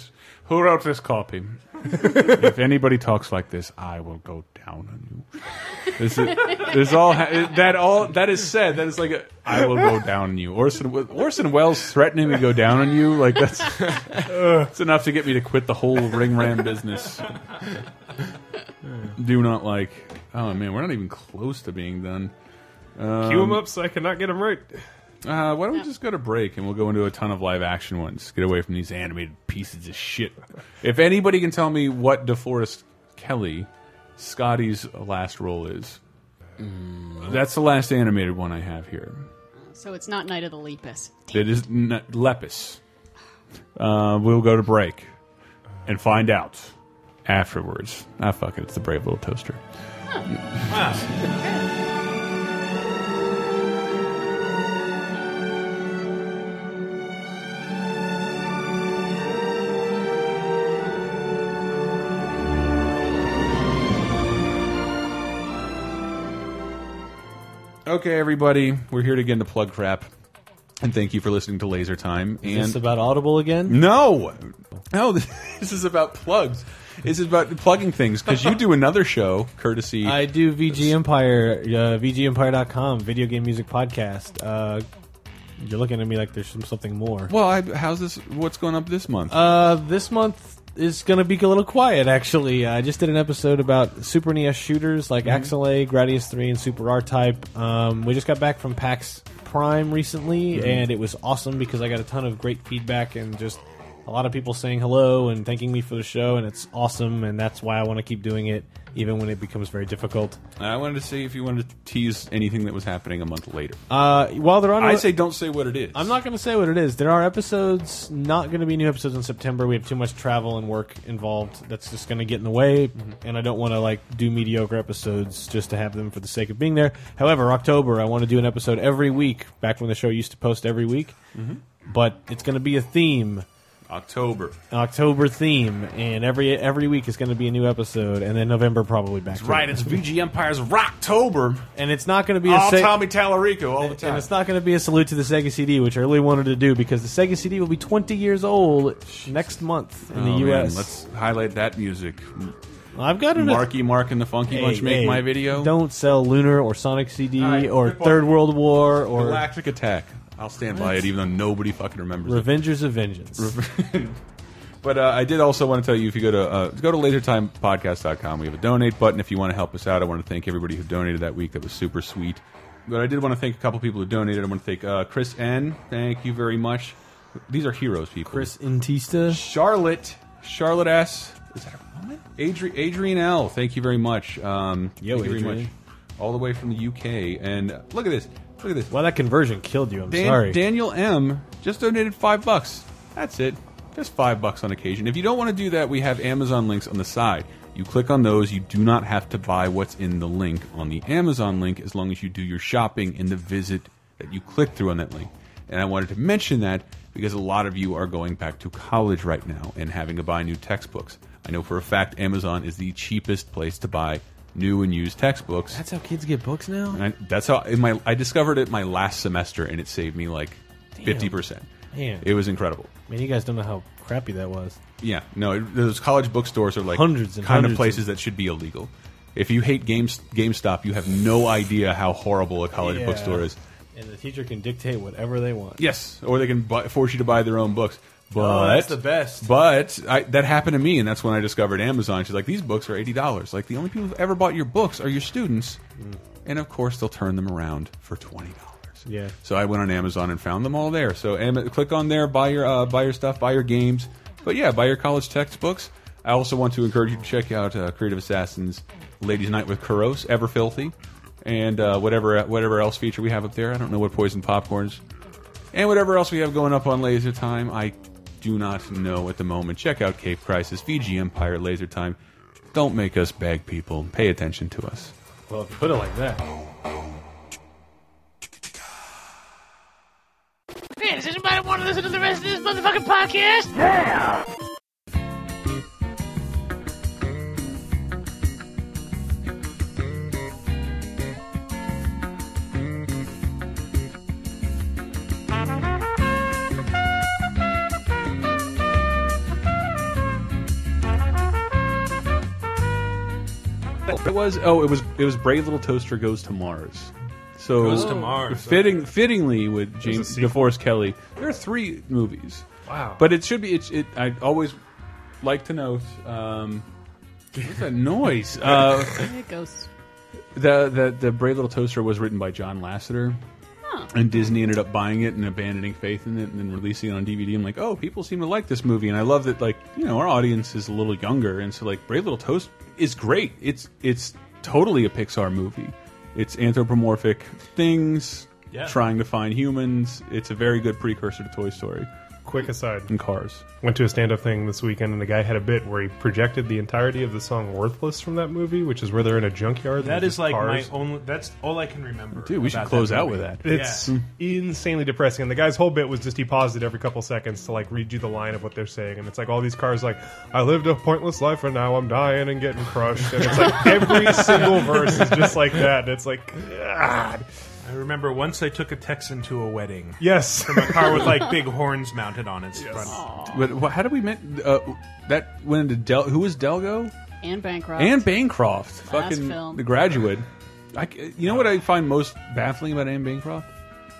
Who wrote this copy? if anybody talks like this, I will go down on you. This is, this all ha- that all that is said. That is like a, I will go down on you. Orson Orson Welles threatening to go down on you like that's it's enough to get me to quit the whole ring ram business. Do not like. Oh man, we're not even close to being done. Um,
Cue him up so I cannot get him right.
uh, why don't we just go to break and we'll go into a ton of live action ones? Get away from these animated pieces of shit. If anybody can tell me what DeForest Kelly, Scotty's last role is, that's the last animated one I have here.
So it's not Night of the Lepus.
It is n- Lepus. Uh, we'll go to break and find out afterwards. Ah, fuck it. It's the Brave Little Toaster. Okay, everybody, we're here again to plug crap, and thank you for listening to Laser Time.
Is
and
this about Audible again?
No, no, this is about plugs. This is about plugging things because you do another show courtesy.
I do VG Empire, uh, VGEmpire.com, video game music podcast. Uh, you're looking at me like there's some, something more.
well, I, how's this? What's going up this month?
Uh, this month is going to be a little quiet, actually. I just did an episode about Super NES shooters like
Mhm.
Axel A, Gradius 3, and Super R Type. Um, we just got back from PAX Prime recently,
Mhm.
and it was awesome because I got a ton of great feedback and just a lot of people saying hello and thanking me for the show, and it's awesome, and that's why I want to keep doing it, even when it becomes very difficult.
I wanted to see if you wanted to tease anything that was happening a month later.
Uh, while they're on,
I say don't say what it is.
I'm not going to say what it is. There are episodes, not going to be new episodes in September. We have too much travel and work involved. That's just going to get in the way,
Mm-hmm.
and I don't want to like do mediocre episodes just to have them for the sake of being there. However, October, I want to do an episode every week. Back when the show used to post every week,
Mm-hmm.
Mhm.
but it's going to be a theme.
October.
An October theme, and every every week is going to be a new episode, and then November probably back.
That's
to
right. It's VG Empire's Rocktober,
and it's not going to be a
all
sa-
Tommy Tallarico all the time.
And it's not going to be a salute to the Sega CD, which I really wanted to do because the Sega CD will be 20 years old next month in
Oh,
the
man,
U.S.
let's highlight that music.
I've got it.
Marky Mark and the Funky Bunch make my video.
Don't sell Lunar or Sonic CD
All right,
or
good point.
Third World War or
Galactic Attack. I'll stand by it, even though nobody fucking remembers it.
Revengers of Vengeance.
But uh, I did also want to tell you if you go to uh, go to lasertimepodcast.com, we have a donate button if you want to help us out. I want to thank everybody who donated that week. That was super sweet. But I did want to thank a couple people who donated. I want to thank uh, Chris N. Thank you very much. These are heroes, people.
Chris Intista.
Charlotte. Charlotte S. Is that a woman? Adri Adrian L. Thank you very much. Um,
Yo,
thank you very
Adrian.
much. All the way from the UK. And uh, look at this. Look at this.
Wow, that conversion killed you. I'm
Dan-
sorry.
Daniel M just donated five bucks. That's it. Just five bucks on occasion. If you don't want to do that, we have Amazon links on the side. You click on those. You do not have to buy what's in the link on the Amazon link as long as you do your shopping in the visit that you click through on that link. And I wanted to mention that because a lot of you are going back to college right now and having to buy new textbooks. I know for a fact Amazon is the cheapest place to buy new and used textbooks.
That's how kids get books now.
And I, that's how in my I discovered it my last semester, and it saved me like fifty percent.
Man.
It was incredible.
Man, you guys don't know how crappy that was.
Yeah, no, it, those college bookstores are like
Hundreds and
kind
hundreds
of places that should be illegal. If you hate games, GameStop, you have no idea how horrible a college
Yeah.
bookstore is.
And the teacher can dictate whatever they want.
Yes, or they can buy, force you to buy their own books. But
Oh, that's the best.
But I, that happened to me, and that's when I discovered Amazon. She's like, these books are eighty dollars. Like the only people who ever bought your books are your students,
Mm.
and of course they'll turn them around for twenty dollars.
Yeah.
So I went on Amazon and found them all there. So Am click on there, buy your uh, buy your stuff, buy your games, but yeah, buy your college textbooks. I also want to encourage you to check out uh, Creative Assassins, Ladies Night with Kuros, Ever Filthy, and uh, whatever whatever else feature we have up there. I don't know what Poison Popcorns and whatever else we have going up on Laser Time. I do not know at the moment. Check out Cape Crisis, VG Empire, Laser Time. Don't make us bag people. Pay attention to us.
Well, if you put it like that.
Hey, does anybody want to listen to the rest of this motherfucking podcast? Yeah!
It was oh, it was it was Brave Little Toaster Goes to Mars. So
Goes to Mars,
Fitting fittingly with James
sequel.
DeForest Kelly. There are three movies.
Wow.
But it should be it's it I always like to note um what's that noise? Uh
It goes.
the, the the Brave Little Toaster was written by John Lasseter. And Disney ended up buying it and abandoning faith in it, and then releasing it on DVD. I'm like, oh, people seem to like this movie, and I love that. Like, you know, our audience is a little younger, and so like, Brave Little Toast is great. It's it's totally a Pixar movie. It's anthropomorphic things
Yeah.
trying to find humans. It's a very good precursor to Toy Story.
Quick aside.
And Cars.
Went to a stand-up thing this weekend, and the guy had a bit where he projected the entirety of the song "Worthless" from that movie, which is where they're in a junkyard. and
That
there's
is like
cars.
my only. That's all I can remember.
Dude, we should
about
close
that
out
movie.
with that.
It's insanely depressing. And the guy's whole bit was just he paused it every couple seconds to like read you the line of what they're saying. And it's like all these cars like, I lived a pointless life and now I'm dying and getting crushed. And it's like every single verse is just like that. And it's like, God.
I remember once I took a Texan to a wedding.
Yes.
from a car with like big horns mounted on its front.
But wh- how did we met? Uh, that went into Del. Who was Delgo?
And Bancroft.
Anne Bancroft,
Last
fucking
film.
The Graduate. I c you know what I find most baffling about Anne Bancroft?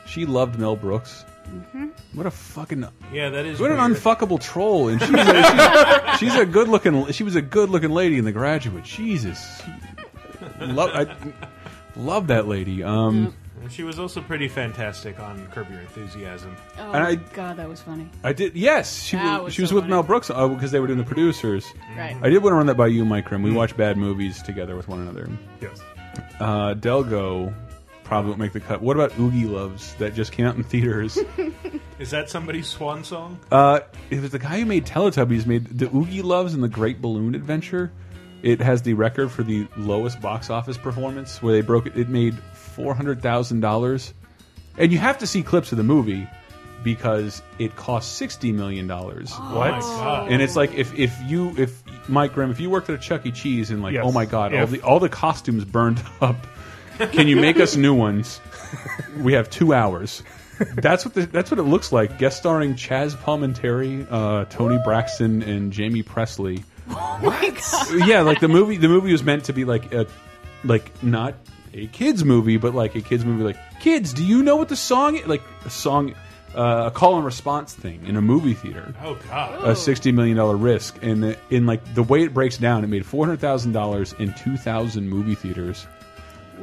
She loved Mel Brooks.
Mhm.
What a fucking
Yeah, that is
what an
weird.
unfuckable troll! And she's a, she's, she's a good looking. She was a good looking lady in The Graduate. Jesus, love I love that lady. Um,
And she was also pretty fantastic on Curb Your Enthusiasm.
Oh
And I-
god, that was funny.
I did. Yes, she
That
was,
was
she was
so
with
funny.
Mel Brooks because they were doing the producers.
Right.
I did want to run that by you, Mike Rim. We watch bad movies together with one another.
Yes.
Uh, Delgo probably won't make the cut. What about Oogie Loves that just came out in theaters?
Is that somebody's swan song?
uh, it was the guy who made Teletubbies made the Oogie Loves and the Great Balloon Adventure. It has the record for the lowest box office performance where they broke it. It made four hundred thousand dollars, and you have to see clips of the movie because it cost sixty million dollars.
Oh
What? my God.
And it's like if if you if Mike Grimm, if you worked at a Chuck E. Cheese and like,
Yes.
oh my God, all
If.
the all the costumes burned up. Can you make us new ones? We have two hours. That's what the, that's what it looks like. Guest starring Chaz Palminteri, uh, Tony Braxton, and Jamie Presley. yeah, like the movie. The movie was meant to be like a, like not a kids movie, but like a kids movie. Like kids, do you know what the song? i- Like a song, uh, a call and response thing in a movie theater.
Oh God!
A sixty million dollar risk, and the, in like the way it breaks down, it made four hundred thousand dollars in two thousand movie theaters.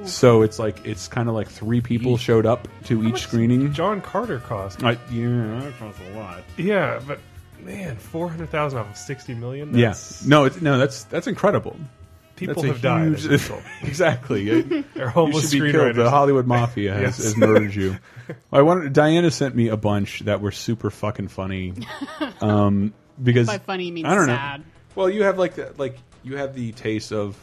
So it's like it's kind of like three people showed up to each screening.
John Carter cost.
I, yeah, that costs a lot.
Yeah, but man, four hundred thousand off of sixty million.
Yes.
That's-
No, it's, no, that's that's incredible.
People
That's a
have died as a
huge-
result.
exactly. It-
They're homeless
you should be killed. The
screenwriters.
Hollywood Mafia has,
Yes.
has murdered you. I wanted Diana sent me a bunch that were super fucking funny. Um, because
By funny, you mean
I don't
sad.
know. Well, you have like the, like you have the taste of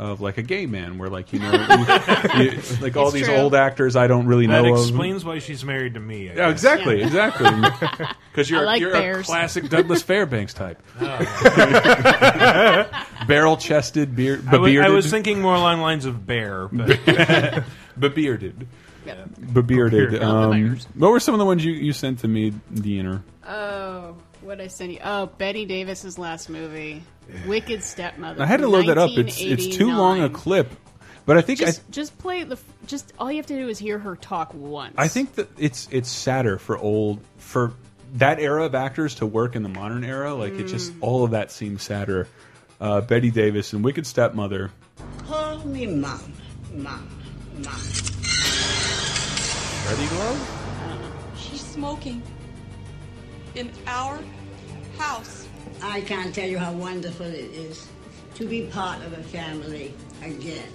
of like a gay man, where like you know, you- you- like all
It's
these
true.
old actors I don't really
that
know of.
explains why she's married to me.
Yeah,
I guess.
exactly, exactly. Because
I
you're
like
you're a
bears.
classic Douglas Fairbanks type,
Oh.
barrel chested, beard,
I was, I
bearded.
was thinking more along the lines of bear, but
bearded. Bearded. Um, what were some of the ones you, you sent to me, Diener?
Oh, what I send you? Oh, Betty Davis's last movie, Wicked Stepmother.
I had to
from
load that up. It's it's too long a
1989.
clip, but I think
Just, just play the. f- Just all you have to do is hear her talk once.
I I think that it's it's sadder for old for that era of actors to work in the modern era. Like it just all of that seems sadder. Uh, Betty Davis and Wicked Stepmother.
Call me mom, mom, mom.
Ready, Glow?
She's smoking in our house.
I can't tell you how wonderful it is to be part of a family again.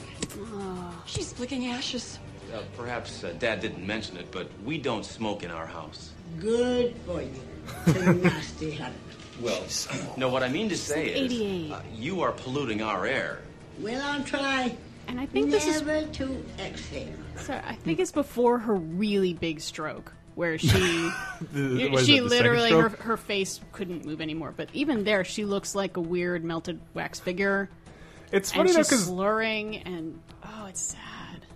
She's flicking ashes.
Uh, perhaps uh, Dad didn't mention it, but we don't smoke in our house.
Good for you. It's a nasty habit.
Well, no, what I mean to say
It's
is
88.
uh, you are polluting our air.
Well, I'll try.
And I think this is-
never to exhale.
Sorry, I think it's before her really big stroke where she
The- what is
she
it, the second
literally her,
stroke?
her face couldn't move anymore. But even there, she looks like a weird melted wax figure.
It's
and
funny though,
she's
'cause-
slurring and oh, it's sad.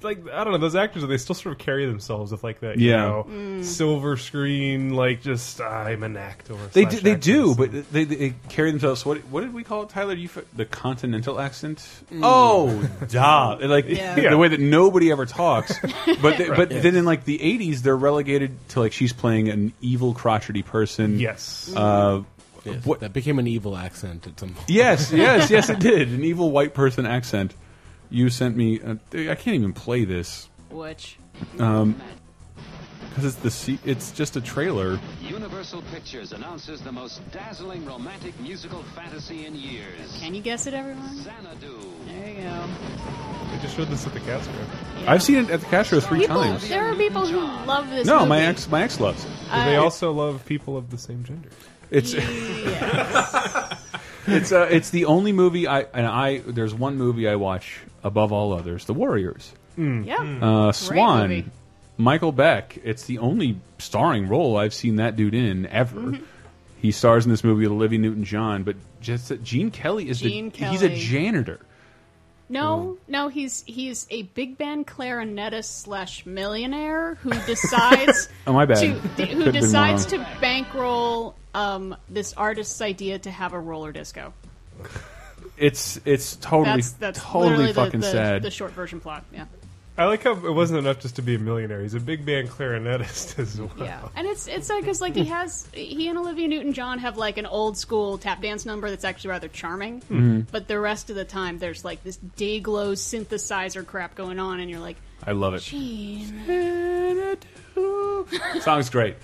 like I don't know, those actors they still sort of carry themselves with like that,
Yeah.
you know,
Mm.
silver screen, like just I'm an actor.
They
slash
do, they
actress.
do, but they, they carry themselves. What what did we call it, Tyler? You f- the continental accent?
Mm.
Oh, duh! Like
Yeah.
the,
Yeah.
way that nobody ever talks. But they,
Right.
but
Yes.
then in like the eighties, they're relegated to like she's playing an evil crotchety person.
Yes.
Uh,
Yes,
what?
That became an evil accent at some point.
Yes, yes, yes. It did an evil white person accent. You sent me. Uh, I can't even play this
Which
um, because it's the se- it's just a trailer.
Universal Pictures announces the most dazzling romantic musical fantasy in years.
can you guess it, everyone? There you go.
They just showed this at the Castro.
I've seen it at the Castro three
People-
times.
There are people who love this.
No,
movie.
my ex my ex loves it.
I-
they also love people of the same gender.
It's it's uh, it's the only movie I and I there's one movie I watch above all others, The Warriors.
Mm.
Yeah.
Uh,
Great
Swan,
movie.
Michael Beck. It's the only starring role I've seen that dude in ever.
Mhm.
He stars in this movie with Olivia Newton John, but just that Gene Kelly is
Gene
the he's a
Kelly.
janitor. Oh.
No, no, he's he's a big band clarinetist slash millionaire who decides.
Oh, my bad.
To,
Could've
who
been
decides
wrong.
to bankroll um, this artist's idea to have a roller disco.
It's it's totally
that's that's
totally
literally the-
fucking
the,
sad.
The short version plot, yeah,
I like how it wasn't enough just to be a millionaire. He's a big band clarinetist as well.
yeah. And it's it's sad because like he has he and Olivia Newton John have like an old school tap dance number that's actually rather charming,
Mhm.
but the rest of the time there's like this day glow synthesizer crap going on, and you're like,
I love it.
Gene.
song's great.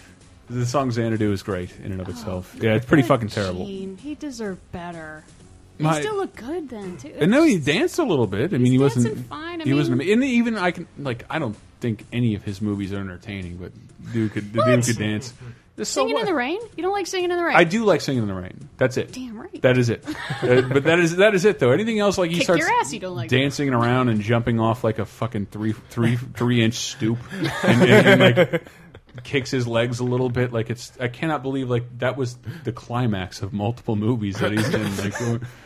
The song Xanadu is great in
Oh,
and of itself. Yeah, it's pretty
Good
fucking terrible.
Gene. He deserved better.
My-
he still looked good then too.
And no, he danced a little bit. I mean, he wasn't.
fine. I
he wasn't.
mean-
And even I can like. I don't think any of his movies are entertaining, but dude could the dude
What?
could dance.
singing in the rain. You don't like singing in the rain.
I do like singing in the rain. That's it.
Damn right.
That is it. Uh, but that is that is it though. Anything else like he
Kick
starts
your ass, you don't like.
dancing around and jumping off like a fucking three three three inch stoop and, and, and, like kicks his legs a little bit like it's I cannot believe like that was the climax of multiple movies that he's in like going,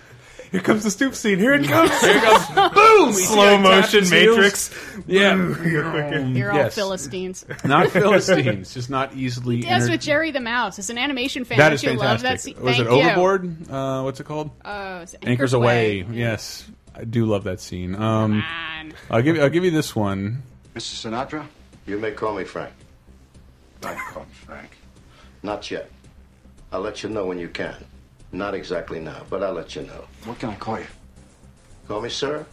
Here comes the stoop scene. Here it comes. Here it
comes. Boom!
Slow motion matrix.
yeah
You're all
yes.
Philistines.
not Philistines just not easily
Dance
enter-
with Jerry the Mouse. It's an animation fan.
that
Don't
is
you love that
fantastic
scene?
was
Thank
it
you.
Overboard uh, what's it called
Oh, it's
Anchors, Away. Yes, I do love that scene. Um, I'll give I'll give you this one.
Mr. Sinatra, you may call me Frank. I'm called Frank. Not yet. I'll let you know when you can. Not exactly now, but I'll let you know. What can I call you? Call me sir.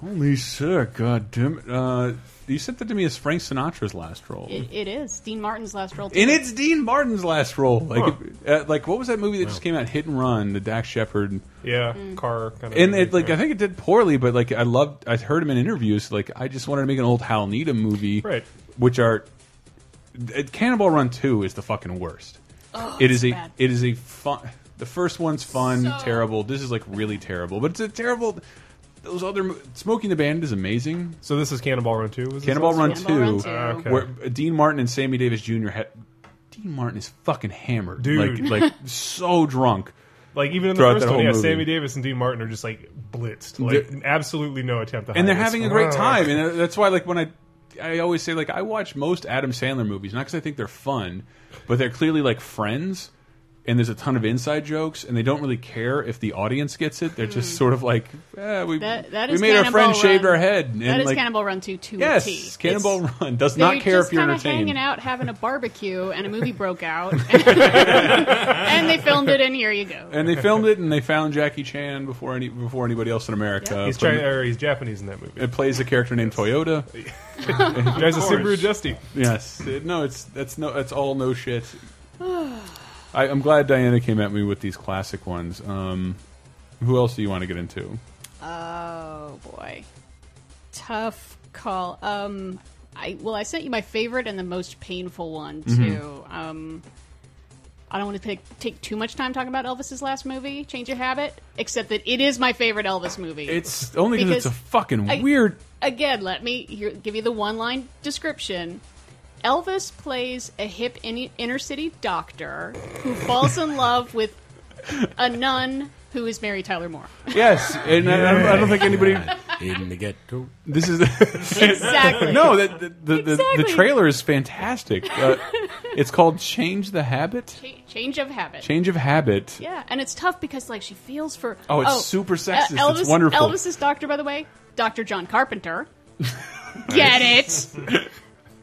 Holy sir, god damn it! Uh, you sent that to me as Frank Sinatra's last role,
It, it is Dean Martin's last role. too.
and it's Dean Martin's last role. Like,
Huh.
uh, like what was that movie that just came out? Hit and Run, the Dax Shepard.
Yeah, car kind of.
And it, like,
movie,
I think it did poorly, but like, I loved. I heard him in interviews. Like, I just wanted to make an old Hal Needham movie,
Right.
Which are uh, Cannonball Run Two is the fucking worst.
Oh,
it
it's
is a
bad.
it is a fun. The first one's fun,
So-
terrible. This is like really terrible, but it's a terrible. Those other mo- Smoking the Bandit is amazing.
So this is Cannonball Run Two. Was this
Cannonball
also?
Run
Cannonball
Two,
Run Ah, 2.
where Dean Martin and Sammy Davis Jr. had. Dean Martin is fucking hammered,
Dude.
Like, like so drunk.
Like even in the
throughout
first
that
one,
whole
yeah,
movie.
Sammy Davis and Dean Martin are just like blitzed, like absolutely no attempt. To
and they're
hide this.
having a great
Ugh.
time and uh, that's why like when i i always say like i watch most adam sandler movies not because i think they're fun but they're clearly like friends and there's a ton of inside jokes and they don't really care if the audience gets it they're just sort of like eh, we,
Hmm. That- that
we
is
made our friend
Cannonball
shaved
Run.
our head and
That is
like
Cannonball Run 2 to
yes
a T.
cannonball
It's-
run does
They're
not care
just
if you're
kinda
entertained
hanging out having a barbecue and a movie broke out and they filmed it and here you go
and they filmed it and they found jackie chan before any before anybody else in america
He's
From-
China, or he's Japanese in that movie.
it plays a character named toyota
He drives a Subaru Justy.
yes It- no it's that's no that's all no shit I, I'm glad Diana came at me with these classic ones. Um, who else do you want to get into?
oh boy tough call um i well i sent you my favorite and the most painful one too
Mhm.
um I don't want to take, take too much time talking about Elvis's last movie, Change of Habit, except that it is my favorite Elvis movie.
It's only because it's a fucking
I-
weird.
Again, let me here, give you the one line description. Elvis plays a hip in, inner city doctor who falls in love with a nun who is Mary Tyler Moore.
Yes, and I, I don't- I don't think anybody.
In the ghetto.
This is
Exactly.
no. The the, the, the,
Exactly.
the trailer is fantastic. Uh, it's called "Change the Habit."
Cha- Change of habit.
Change of habit.
Yeah, and it's tough because like she feels for
Oh, it's super sexist.
El- Elvis,
It's wonderful.
Elvis's doctor, by the way, Doctor John Carpenter. Get it?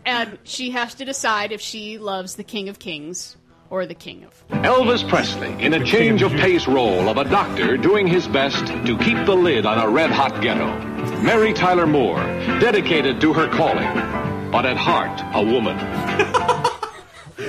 and she has to decide if she loves the King of Kings or the King of.
Elvis Presley in a change of pace role of a doctor doing his best to keep the lid on a red hot ghetto. Mary Tyler Moore, dedicated to her calling, but at heart a woman.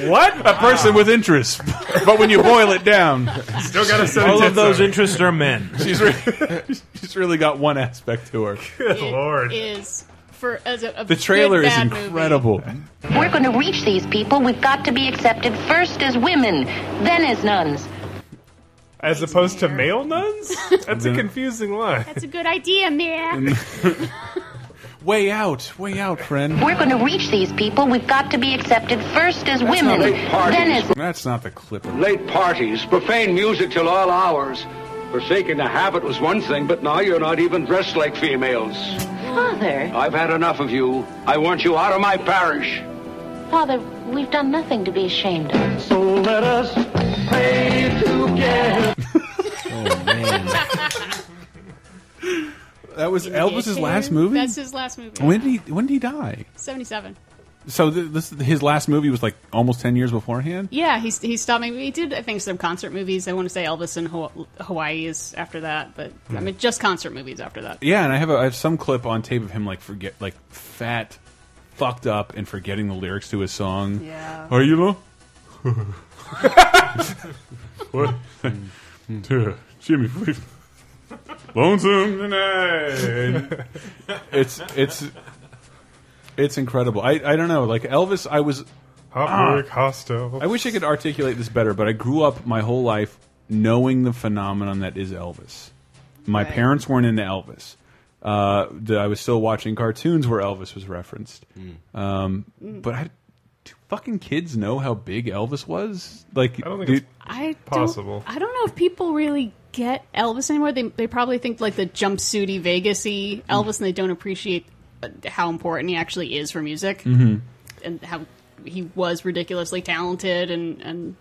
What? A person with interests, but when you boil it down,
Still gotta send
All of
tits
those
over.
interests are men.
she's re- she's really got one aspect to her.
Good lord! Is for as a, a
The trailer
good,
is
bad
incredible.
We're going to reach these people. We've got to be accepted first as women, then as nuns.
As opposed to male nuns? That's a
Yeah.
confusing line.
That's a good idea, man.
Way out, way out, friend.
We're going to reach these people. We've got to be accepted first as
That's
women,
not a party.
then as
That's not the clip.
Late parties, profane music till all hours.
Forsaking a habit was one thing, but now you're not even dressed like females.
Father,
I've had enough of you. I want you out of my parish.
Father, we've done nothing to be ashamed of.
So let us pray together.
oh man, that was Elvis's last movie.
That's his last movie.
When did he When did he die?
Seventy-seven.
So th- this his last movie was like almost ten years beforehand.
Yeah, he he stopped making. He did I think some concert movies. I want to say Elvis in Haw- Hawaii is after that, but
Hmm.
I mean just concert movies after that.
Yeah, and I have a, I have some clip on tape of him like forget like fat, fucked up, and forgetting the lyrics to his song.
Yeah.
Are you know? what? Dear Jimmy, we lonesome tonight. it's it's it's incredible. I I don't know. Like Elvis, I was
Heartbreak
Ah. I wish I could articulate this better, but I grew up my whole life knowing the phenomenon that is Elvis. My
Right.
parents weren't into Elvis. Uh, the- I was still watching cartoons where Elvis was referenced. Um, but I, do fucking kids know how big Elvis was? Like, I don't think
I don't-
Possible.
I don't know if people really get Elvis anymore. They they probably think like the jumpsuity Vegasy Elvis, and they don't appreciate uh, how important he actually is for music
Mhm.
and how he was ridiculously talented and and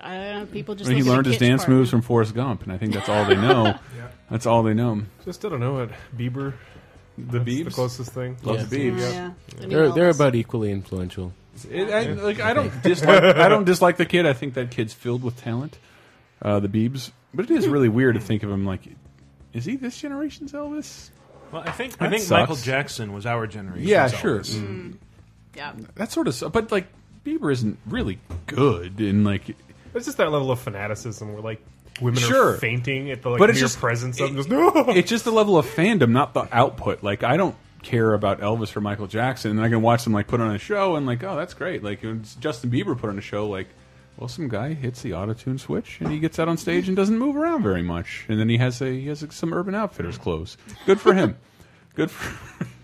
I don't know, people just
he
look at the
learned his
kids
dance
part.
moves from Forrest Gump, and I think that's all they know.
Yeah.
That's all they know.
Just I don't know what Bieber.
The
Beebs, the closest thing.
Love the Biebs. Yeah.
They're, they're about equally influential.
It, I, like I don't dislike I don't dislike the kid. I think that kid's filled with talent, uh, the Biebs. But it is really weird to think of him like, is he this generation's Elvis?
Well, I think I
That
think
sucks.
Michael Jackson was our generation.
Yeah, sure.
Yeah.
That sort of. su- But like Bieber isn't really good, and like
It's just that level of fanaticism where like women
Sure.
are fainting at the like
But
mere
it's just-
presence of just
it's just the level of fandom, not the output. Like I don't care about Elvis or Michael Jackson, and I can watch them like put on a show and like, oh, that's great. Like when Justin Bieber put on a show, like, well, some guy hits the auto tune switch and he gets out on stage and doesn't move around very much, and then he has a he has some Urban Outfitters clothes. Good for him. Good for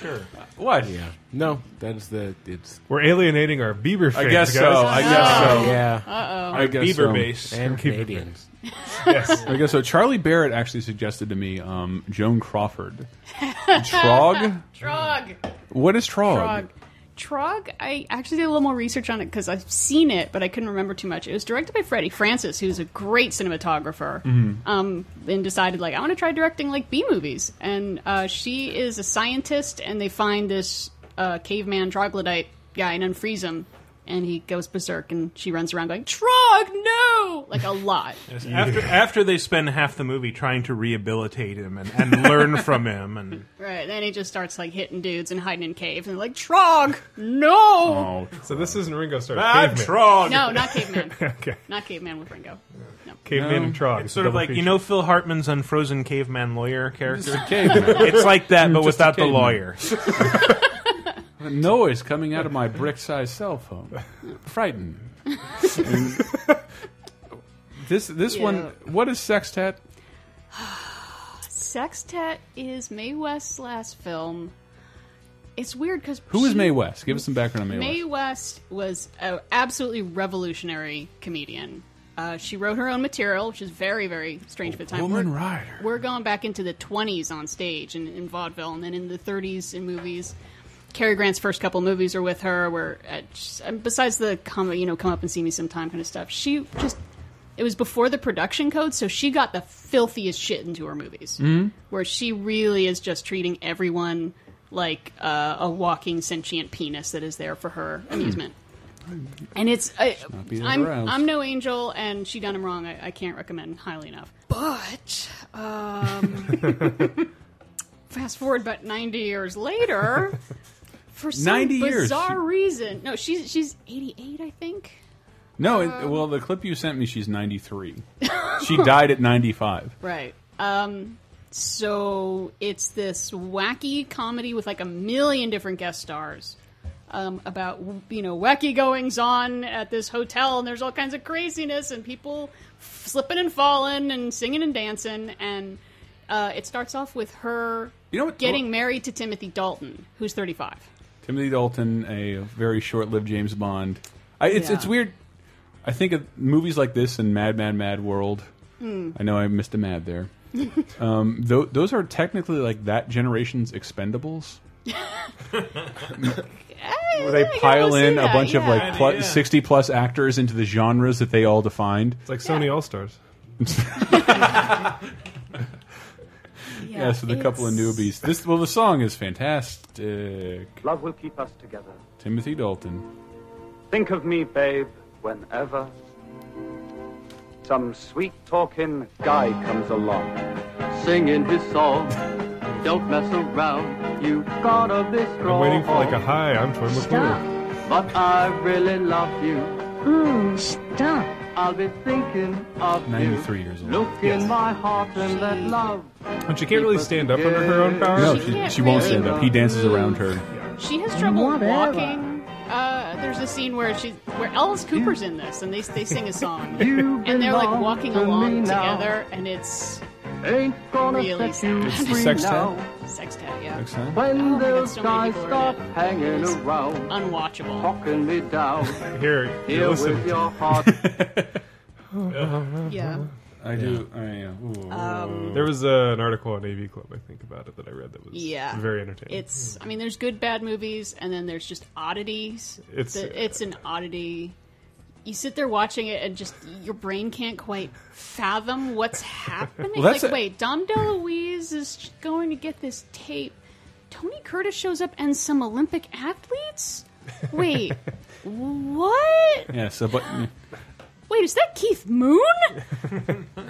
Sure.
what?
Yeah. No, that's the it's.
We're alienating our Bieber fans.
I guess
guys.
so. I guess so.
Yeah.
I
Our
guess
Bieber
so.
base.
And Canadians.
Yes.
I guess so. Charlie Barrett actually suggested to me um, Joan Crawford. Trog?
Trog.
What is Trog?
Trog. Trog, I actually did a little more research on it because I've seen it, but I couldn't remember too much. It was directed by Freddie Francis, who's a great cinematographer,
Mhm.
um, and decided, like, I want to try directing, like, B movies. And uh, she is a scientist, and they find this uh, caveman troglodyte guy and unfreeze him, and he goes berserk, and she runs around going, Trog, no! Like, a lot.
Yes, After after they spend half the movie trying to rehabilitate him and, and learn from him and
Right, then he just starts, like, hitting dudes and hiding in caves, and like, Trog, no!
So this isn't Ringo Starr.
Ah,
Caveman.
Trog.
No, not caveman.
okay.
Not caveman with Ringo. No.
Caveman and Trog.
It's sort of
Double
like you
feature.
know Phil Hartman's unfrozen caveman lawyer character.
Just a caveman.
It's like that,
Just
but
a
without the
caveman.
lawyer.
A noise coming out of my brick-sized cell phone. Frightened. And this this one. What is sextet?
Sextet is Mae West's last film. It's weird because
Who is Mae West? Give us some background on Mae,
Mae West was an absolutely revolutionary comedian. Uh, she wrote her own material, which is very, very strange for the time.
Woman
We're-
Rider.
We're going back into the 20s on stage and in vaudeville, and then in the 30s in movies. Cary Grant's first couple movies are with her. Where uh, just- and besides the come, you know, come up and see me sometime kind of stuff, she just it was before the production code, so she got the filthiest shit into her
Mm.
movies
Mhm.
where she really is just treating everyone like uh, a walking sentient penis that is there for her amusement. And it's I,
not being
I'm
aroused.
I'm no angel, and she done him wrong. I, I can't recommend highly enough. But um, fast forward about ninety years later, for some
90 years.
bizarre reason, no, she's she's eighty eight, I think.
No, it,
Um,
well, the clip you sent me, she's 93. she died at 95.
Right. Um, so it's this wacky comedy with like a million different guest stars um, about you know wacky goings on at this hotel, and there's all kinds of craziness and people slipping and falling and singing and dancing, and uh, it starts off with her
You know what-
getting married to Timothy Dalton, who's 35.
Timothy Dalton, a very short-lived James Bond. I, it's
Yeah.
it's weird. I think of movies like this and Mad Mad Mad World
Hmm.
I know I missed a mad there. um, tho those are technically like that generation's expendables. Where they pile in a bunch of like plus, 60 plus actors into the genres that they all defined.
It's like Sony All Stars.
Yeah, so the couple of newbies. This well, the song is fantastic.
Love will keep us together.
Timothy Dalton.
Think of me, babe, whenever some sweet talking guy comes along, singing his song. Don't mess around, you gotta be
I'm
strong.
waiting for like a hi. I'm Troy McClure.
But I really love you.
Hmm,
Ooh, stop. I'll be thinking of you.
93 years old.
Look in my heart and let love.
But she can't really stand up under her own power.
No, she, she won't stand up. He dances around her.
She has trouble
Whatever.
walking. Uh, there's a scene where she, where Alice Cooper's in this, and they they sing a song, and they're like
belong
walking
to me
along
now.
together, and it's
Ain't gonna
really
set you
sad.
It's the free sextet? now.
Sextet, yeah.
When those
so many
guys
people are
stop
dead.
hanging
It's
around,
unwatchable.
talking me down.
Here,
here
listen.
with your heart.
Yeah.
I do. I am.
Um,
there was uh, an article on AV Club, I think, about it that I read that was
Yeah,
very entertaining.
It's, I mean, there's good bad movies, and then there's just oddities.
It's-
It's it's an oddity. You sit there watching it, and just your brain can't quite fathom what's happening.
Well, that's
like,
a-
wait, Dom DeLuise is going to get this tape. Tony Curtis shows up, and some Olympic athletes. Wait, what?
Yeah, so but
Wait, is that Keith Moon?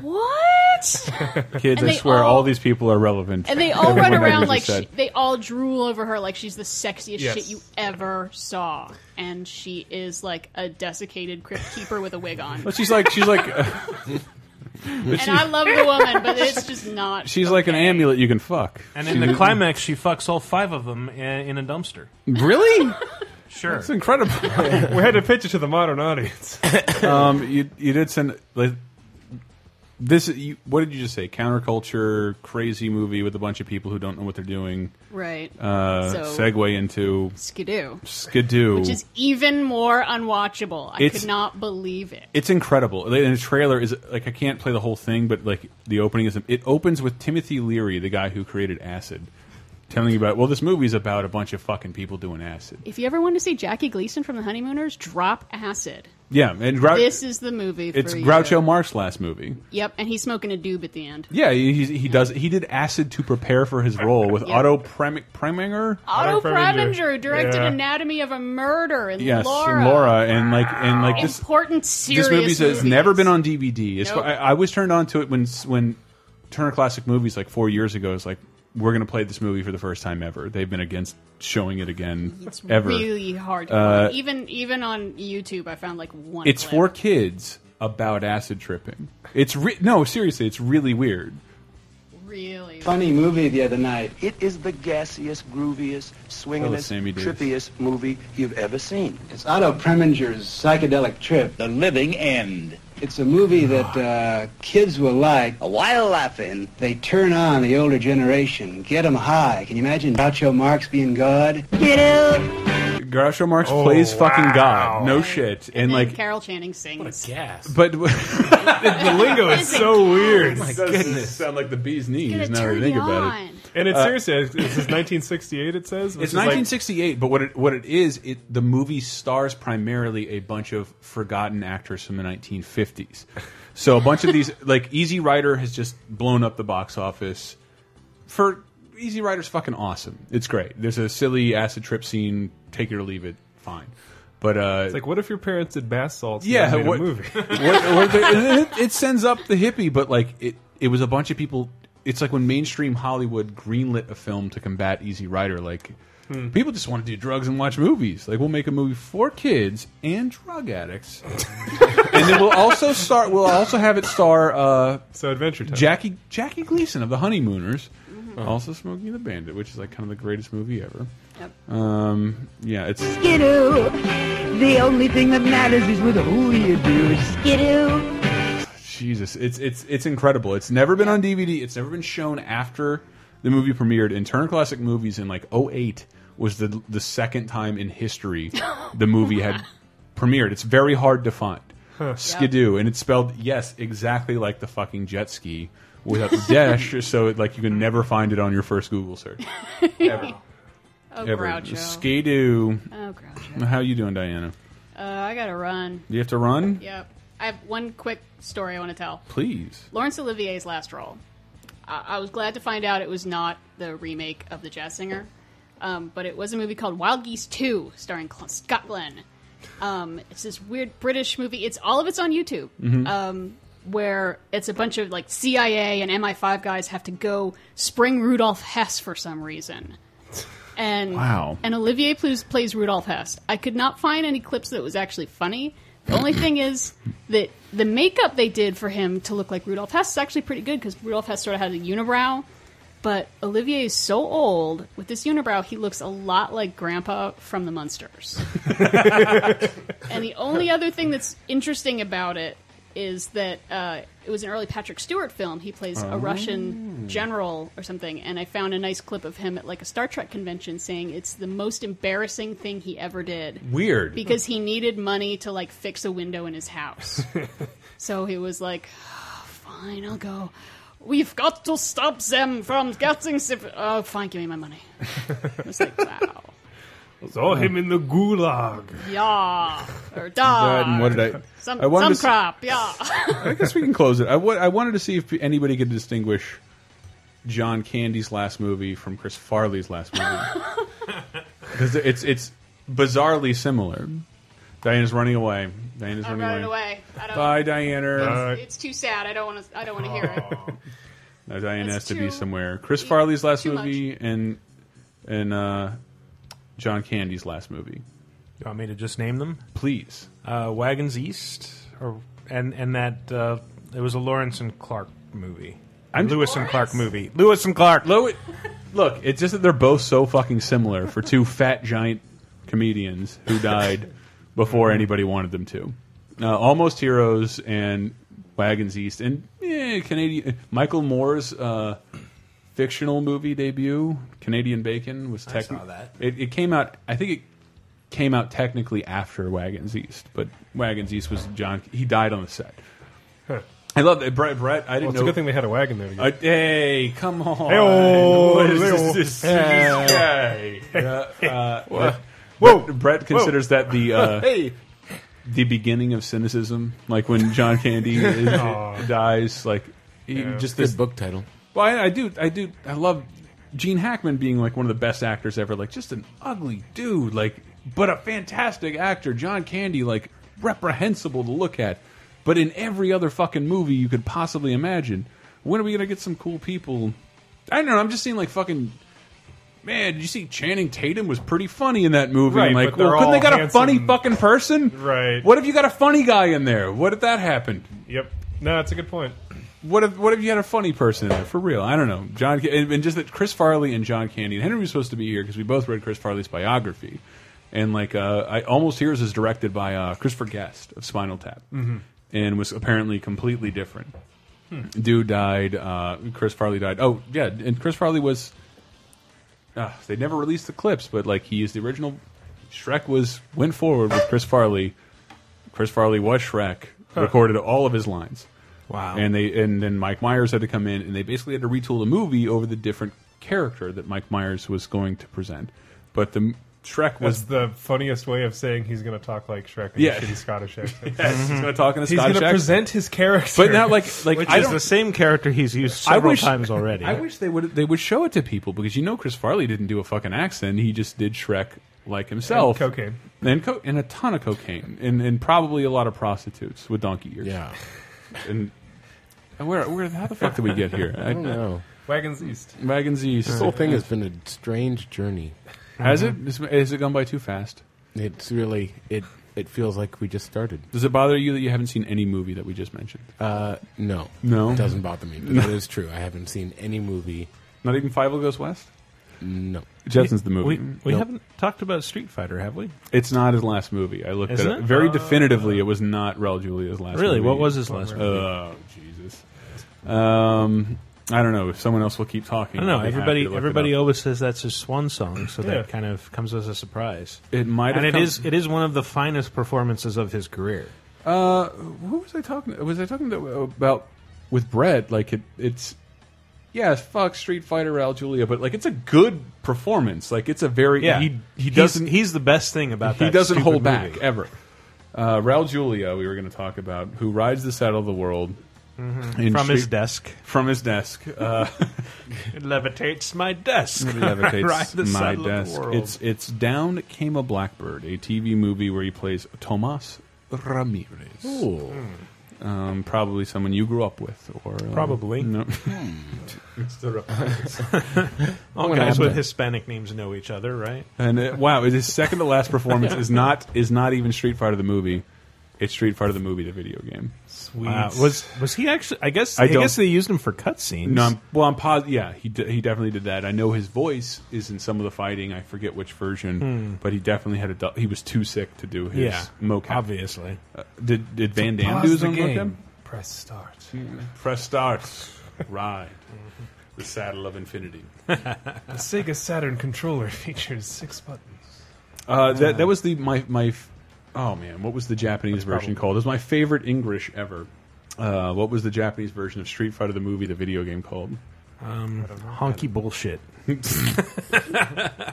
what?
kids,
And
I
they
swear,
all-
all these people are relevant.
And they all
Everyone
run
that we
around
just
like
said.
she, they all drool over her like she's the sexiest
Yes.
shit you ever saw, and she is like a desiccated crypt keeper with a wig on.
But she's like she's like. uh,
and
but
I
she's,
love the woman, but it's just not.
she's like an amulet you can fuck.
And in the
She-
climax, she fucks all five of them i- in a dumpster.
Really?
Sure.
That's incredible.
we had to pitch it to the modern audience.
um, you you did send like this. You, what did you just say? Counterculture, crazy movie with a bunch of people who don't know what they're doing.
Right.
Uh,
So-
segue into
Skidoo.
Skidoo,
which is even more unwatchable. I
It's-
could not believe it.
It's incredible. Like, And the trailer is like I can't play the whole thing, but like the opening is it opens with Timothy Leary, the guy who created acid, telling you about well, this movie's about a bunch of fucking people doing acid.
If you ever want to see Jackie Gleason from The Honeymooners, drop acid.
Yeah, and Grou
this is the movie. For
Uh, it's
you.
Groucho Marx last movie.
Yep, and he's smoking a doob at the end.
Yeah, he, he, he does. He did acid to prepare for his role with
Yeah. Uh,
Otto Prem Preminger.
Otto
Preminger.
Preminger, who directed
Yeah.
Anatomy of a Murder and
Yes,
Laura.
and Laura, and like and like this.
Important, serious
this movie has
movie.
never been on DVD. It's,
Nope.
I, I was turned on to it when when Turner Classic Movies like four years ago. It's like we're gonna play this movie for the first time ever. They've been against showing it again
It's
ever.
really hard. To
Uh,
find. even even on YouTube, I found like one.
it's
clip.
for kids about acid tripping. It's re no seriously, it's really weird.
really
funny movie the other night. It is the gassiest, grooviest, swingingest,
Oh, Sammy Davis.
trippiest movie you've ever seen. It's Otto Preminger's psychedelic trip, The Living End. It's a movie that uh, kids will like. While laughing, they turn on the older generation, get them high. Can you imagine Groucho Marx being God? Get out!
Groucho Marx plays fucking God, no shit, and, like.
Carol Channing sings. What a
gas!
But the
lingo is so weird.
Oh My
It does
goodness, sound like the bee's knees.
gonna
Now that I
turn
think
you
about
on.
it,
And it's
Uh,
seriously, it's, it's 1968. It says which
It's
is like-
1968, but what it what it is, it the movie stars primarily a bunch of forgotten actors from the 1950s. So a bunch of these, like Easy Rider, has just blown up the box office. For Easy Rider's fucking awesome. It's great. There's a silly acid trip scene. Take it or leave it. Fine. But uh,
It's like, what if your parents did bath salts? and
yeah,
then made
what,
a movie.
what, what they- and it, it sends up the hippie, but like it, it was a bunch of people. It's like when mainstream Hollywood greenlit a film to combat Easy Rider. Like
Hmm.
people just want to do drugs and watch movies. Like we'll make a movie for kids and drug addicts, and then we'll also start. We'll also have it star. Uh,
so Adventure Time.
Jackie Jackie Gleason of the Honeymooners,
Mm-hmm.
also Smoking the Bandit, which is like kind of the greatest movie ever. Um, yeah, it's
Skidoo. The only thing that matters is with who you do. Skidoo.
Jesus, it's it's it's incredible. It's never been on DVD. It's never been shown after the movie premiered. And Turner Classic Movies in like 08 was the the second time in history the movie had premiered. It's very hard to find. Skidoo, and it's spelled yes, exactly like the fucking jet ski without the dash, so it, like you can never find it on your first Google search. Ever.
Oh,
Ever.
Groucho.
Skidoo.
Oh, Groucho.
How you doing, Diana?
Uh, I gotta run.
Do you have to run?
Yep. I have one quick story I want to tell.
Please.
Laurence Olivier's last role. I, I was glad to find out it was not the remake of The Jazz Singer, um, but it was a movie called Wild Geese 2, starring Cl- Scott Glenn. Um, it's this weird British movie. It's all of it's on YouTube,
Mhm.
um, where it's a bunch of like CIA and MI5 guys have to go spring Rudolf Hess for some reason. And
Wow.
and Olivier plays, plays Rudolf Hess. I could not find any clips that was actually funny. The only thing is that the makeup they did for him to look like Rudolf Hess is actually pretty good because Rudolf Hess sort of had a unibrow. But Olivier is so old with this unibrow, he looks a lot like Grandpa from the Munsters. and the only other thing that's interesting about it is that uh, it was an early Patrick Stewart film. He plays
Oh.
a Russian general or something, and I found a nice clip of him at like a Star Trek convention saying it's the most embarrassing thing he ever did.
Weird.
because he needed money to like fix a window in his house, so he was like, "Oh, "Fine, I'll go." We've got to stop them from getting. civ- Oh, fine, give me my money.
Saw him in the gulag.
Yeah, or da.
That and what did I-
Some,
I wanted
some
to s-
crap. Yeah.
I guess we can close it. I wa- I wanted to see if anybody could distinguish John Candy's last movie from Chris Farley's last movie because it's it's bizarrely similar. Diana's running away. Diana's
I'm
running,
running away. I don't-
Bye, Diana.
Uh,
It's, it's too sad. I don't want to. I don't want to hear it.
No, Diana has
That's
to be
too-
somewhere. Chris Farley's last
too
movie and and uh, John Candy's last movie.
You want me to just name them?
Please.
Uh, Wagons East, or and and that uh, it was a Lawrence and Clark movie.
I'm-
Lewis and Clark movie. Lewis and Clark.
Look, it's just that they're both so fucking similar for two fat giant comedians who died before anybody wanted them to. Uh, Almost Heroes and Wagons East and eh, Canadian Michael Moore's uh, fictional movie debut, Canadian Bacon, was
I
technically
saw that.
It, it came out. I think it came out technically after Wagons East, but Wagons East was John. He died on the set.
Huh.
I love that Brett. Brett, I didn't
Well,
know.
it's a good thing they had a wagon there. To
Uh, hey, come on!
Hey-oh,
what is
hey-oh.
this? this
Hey.
this guy? Uh, uh,
Wha-
Brett, Brett considers that the uh,
Hey.
the beginning of cynicism, like when John Candy is,
Aw.
dies. Like he,
Yeah.
just
Good
this
book title.
Well, I, I do, I do, I love Gene Hackman being like one of the best actors ever. Like just an ugly dude, like but a fantastic actor. John Candy, like reprehensible to look at, but in every other fucking movie you could possibly imagine. When are we gonna get some cool people? I don't know. I'm just seeing like fucking. Man, did you see Channing Tatum was pretty funny in that movie?
Right,
I'm like,
but they're
well, couldn't they
all
got
handsome.
a funny fucking person?
Right.
What if you got a funny guy in there? What if that happened?
Yep. No, that's a good point.
What if what if you had a funny person in there for real? I don't know. John and, and just that Chris Farley and John Candy and Henry was supposed to be here because we both read Chris Farley's biography, and like uh, I almost hears is directed by uh, Christopher Guest of Spinal Tap,
Mhm.
and was apparently completely different.
Hmm.
Dude died. Uh, Chris Farley died. Oh yeah, and Chris Farley was. Uh, they never released the clips, but like he is the original. Shrek was went forward with Chris Farley. Chris Farley was Shrek.
Huh.
Recorded all of his lines.
Wow.
And they and then Mike Myers had to come in, and they basically had to retool the movie over the different character that Mike Myers was going to present. But the m- Shrek
That's
was
the funniest way of saying he's going to talk like Shrek in
Yeah.
a shitty Scottish accent.
Yes, he's gonna talk in a
He's
Scottish
gonna
accent.
present his character,
But not like- like,
which
I
is
don't-
the same character he's used several times already.
I wish they would they would show it to people because you know Chris Farley didn't do a fucking accent. He just did Shrek like himself.
And cocaine.
And, co and a ton of cocaine. And, and probably a lot of prostitutes with donkey ears. Yeah. And, and where, where, how the fuck did we get here?
I don't know.
Wagons East.
Wagons East.
This whole thing has been a strange journey.
Has it? Is- Has it gone by too fast?
It's really it. It feels like we just started.
Does it bother you that you haven't seen any movie that we just mentioned?
Uh, no,
No?
it doesn't bother me. But that is true. I haven't seen any movie.
Not even Five Will Goes West.
No,
Jetson's the movie.
We, we
Nope.
haven't talked about Street Fighter, have we?
It's not his last movie. I looked
Isn't
at it,
it?
very
Uh,
definitively. It was not Raul Julia's last.
Really?
movie.
What was his last movie?
Oh Jesus! Um, I don't know. If someone else will keep talking,
I don't know.
I'll be happy
Everybody,
to look
everybody
It, up.
always says that's his swan song, so
Yeah.
that kind of comes as a surprise.
It might, have
and it
come-
is- it is one of the finest performances of his career.
Uh, who was I talking? Was I talking to, about with Brett? Like it, it's yes, fuck Street Fighter Raul Julia, but like it's a good performance. Like it's a very
Yeah.
he he
He's-
doesn't
he's the best thing about
he
that
doesn't
stupid
hold
movie.
back ever. Uh, Raul Julia, we were going to talk about who rides the saddle of the world
Mm-hmm.
Mhm.
in
From his
Street- from his desk. Uh,
it levitates my desk.
It levitates
Ride the
my
saddle of the
desk.
world.
It's it's down came a blackbird, a TV movie where he plays Tomas Ramirez.
Ooh.
Um, probably someone you grew up with, or uh,
Probably. Hmm.
no.
Mr. Ramirez. All
What
guys with
happened?
Hispanic names know each other, right?
And it, wow, his second to last performance is not is not even Street Fighter the movie. It's Street Fighter the movie, the video game. Sweet.
Wow. Uh, Was was he actually? I guess.
I
I,
don't-
guess they used him for cutscenes.
No, I'm, well, I'm positive. Yeah, he d he definitely did that. I know his voice is in some of the fighting. I forget which version,
Hmm.
but he definitely had a. du- He was too sick to do his
Yeah,
mocap.
obviously.
Uh, did did Van
So
Damme
pause
do his
the
own mocap?
game.
Press start.
Press start. Ride the saddle of infinity.
the Sega Saturn controller features six buttons.
Uh, that that was the my my. f- Oh man, what was the Japanese version called? It was my favorite English ever. Uh, what was the Japanese version of Street Fighter the movie, the video game called?
Um, honky bullshit.
the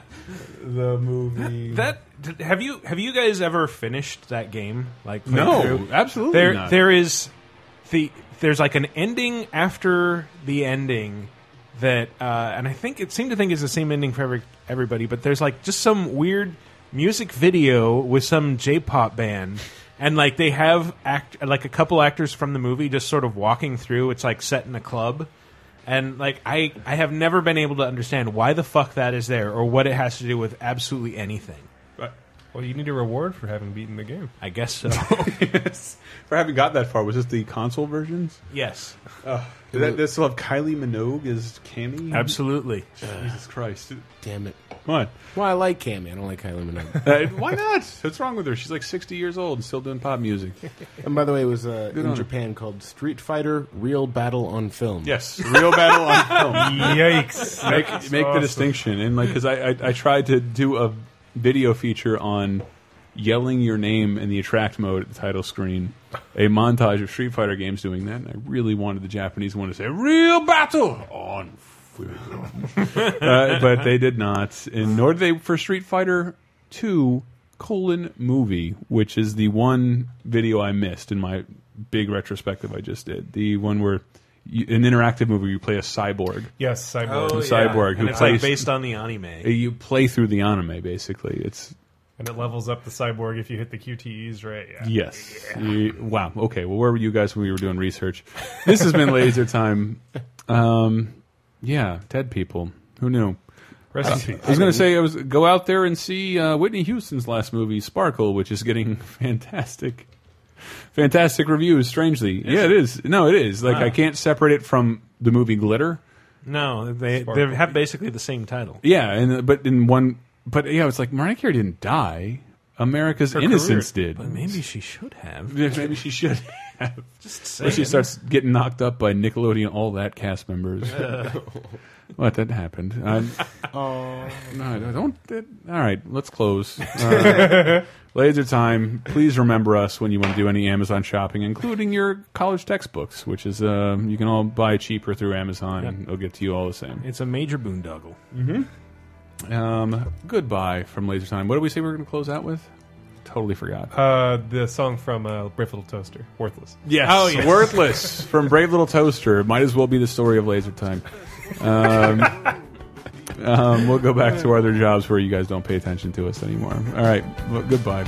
movie
that did- have you have you guys ever finished that game? Like played
No,
through?
absolutely
There
not.
there is the there's like an ending after the ending that uh, and I think it seemed to think is the same ending for every, everybody, but there's like just some weird music video with some J-pop band. And like they have act like a couple actors from the movie just sort of walking through. It's like set in a club, and like I I have never been able to understand why the fuck that is there or what it has to do with absolutely anything.
Well, you need a reward for having beaten the game.
I guess so.
For having got that far, was this the console versions?
yes.
Uh, did that, they still have Kylie Minogue as Cammy?
Absolutely.
Jesus Christ.
Damn it.
What?
Well, I like Cammy. I don't like Kylie Minogue.
Uh, why not? What's wrong with her? She's like 60 years old and still doing pop music.
and by the way, it was uh,
Good on
in
her.
Japan called Street Fighter Real Battle on Film.
Yes, real battle on film.
Yikes.
Make,
That's
make the
awesome.
distinction. And like, because I, I, I tried to do a video feature on yelling your name in the attract mode at the title screen, a montage of Street Fighter games doing that. And I really wanted the Japanese one to say, real battle on film. uh, but they did not, and nor did they for Street Fighter Two colon movie, which is the one video I missed in my big retrospective I just did. The one where you, an interactive movie where you play a cyborg.
Yes, Cyborg.
Oh,
A
yeah.
cyborg who
And it's, like,
plays
based on the anime.
You play through the anime basically. It's
And it levels up the cyborg if you hit the QTEs right. Yeah.
Yes. You- wow. Okay. Well, where were you guys when we were doing research? This has been Laser Time. Um, yeah, dead people. Who knew?
Rest in
Uh,
peace.
I was going to say, I was go out there and see uh, Whitney Houston's last movie, Sparkle, which is getting fantastic, fantastic reviews. Strangely, yeah, it is. No, it is. Like
Wow.
I can't separate it from the movie Glitter.
No, they
Sparkle.
they have basically the same title.
Yeah, and but in one, but yeah, it's like Mariah Carey didn't die. America's
Her
innocence
career-
did.
But maybe she should have.
Yeah, maybe she should have.
Just
Or she
saying.
starts getting knocked up by Nickelodeon, all that cast members. what that happened? I'm,
Oh.
no, no, don't. That, all right, let's close. Uh, laser time. Please remember us when you want to do any Amazon shopping, including your college textbooks, which is um, you can all buy cheaper through Amazon, and it'll get to you all the same.
It's a major boondoggle.
Um, goodbye from Laser Time. What did we say we were going to close out with? Totally forgot.
Uh, the song from uh, Brave Little Toaster, Worthless.
Yes.
Oh, yes.
Worthless from Brave Little Toaster. Might as well be the story of Laser Time. Um, um, we'll go back to our other jobs where you guys don't pay attention to us anymore. All right. Well, goodbye.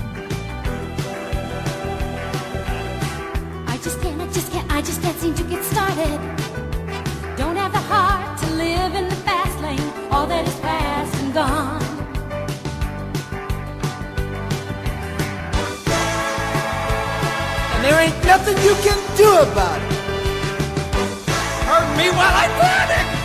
I just can't, I just can't, I just can't seem to get started. Don't have the heart to live in the fast lane, all that is past and gone.
And there ain't nothing you can do about it. Hurt me while I panic!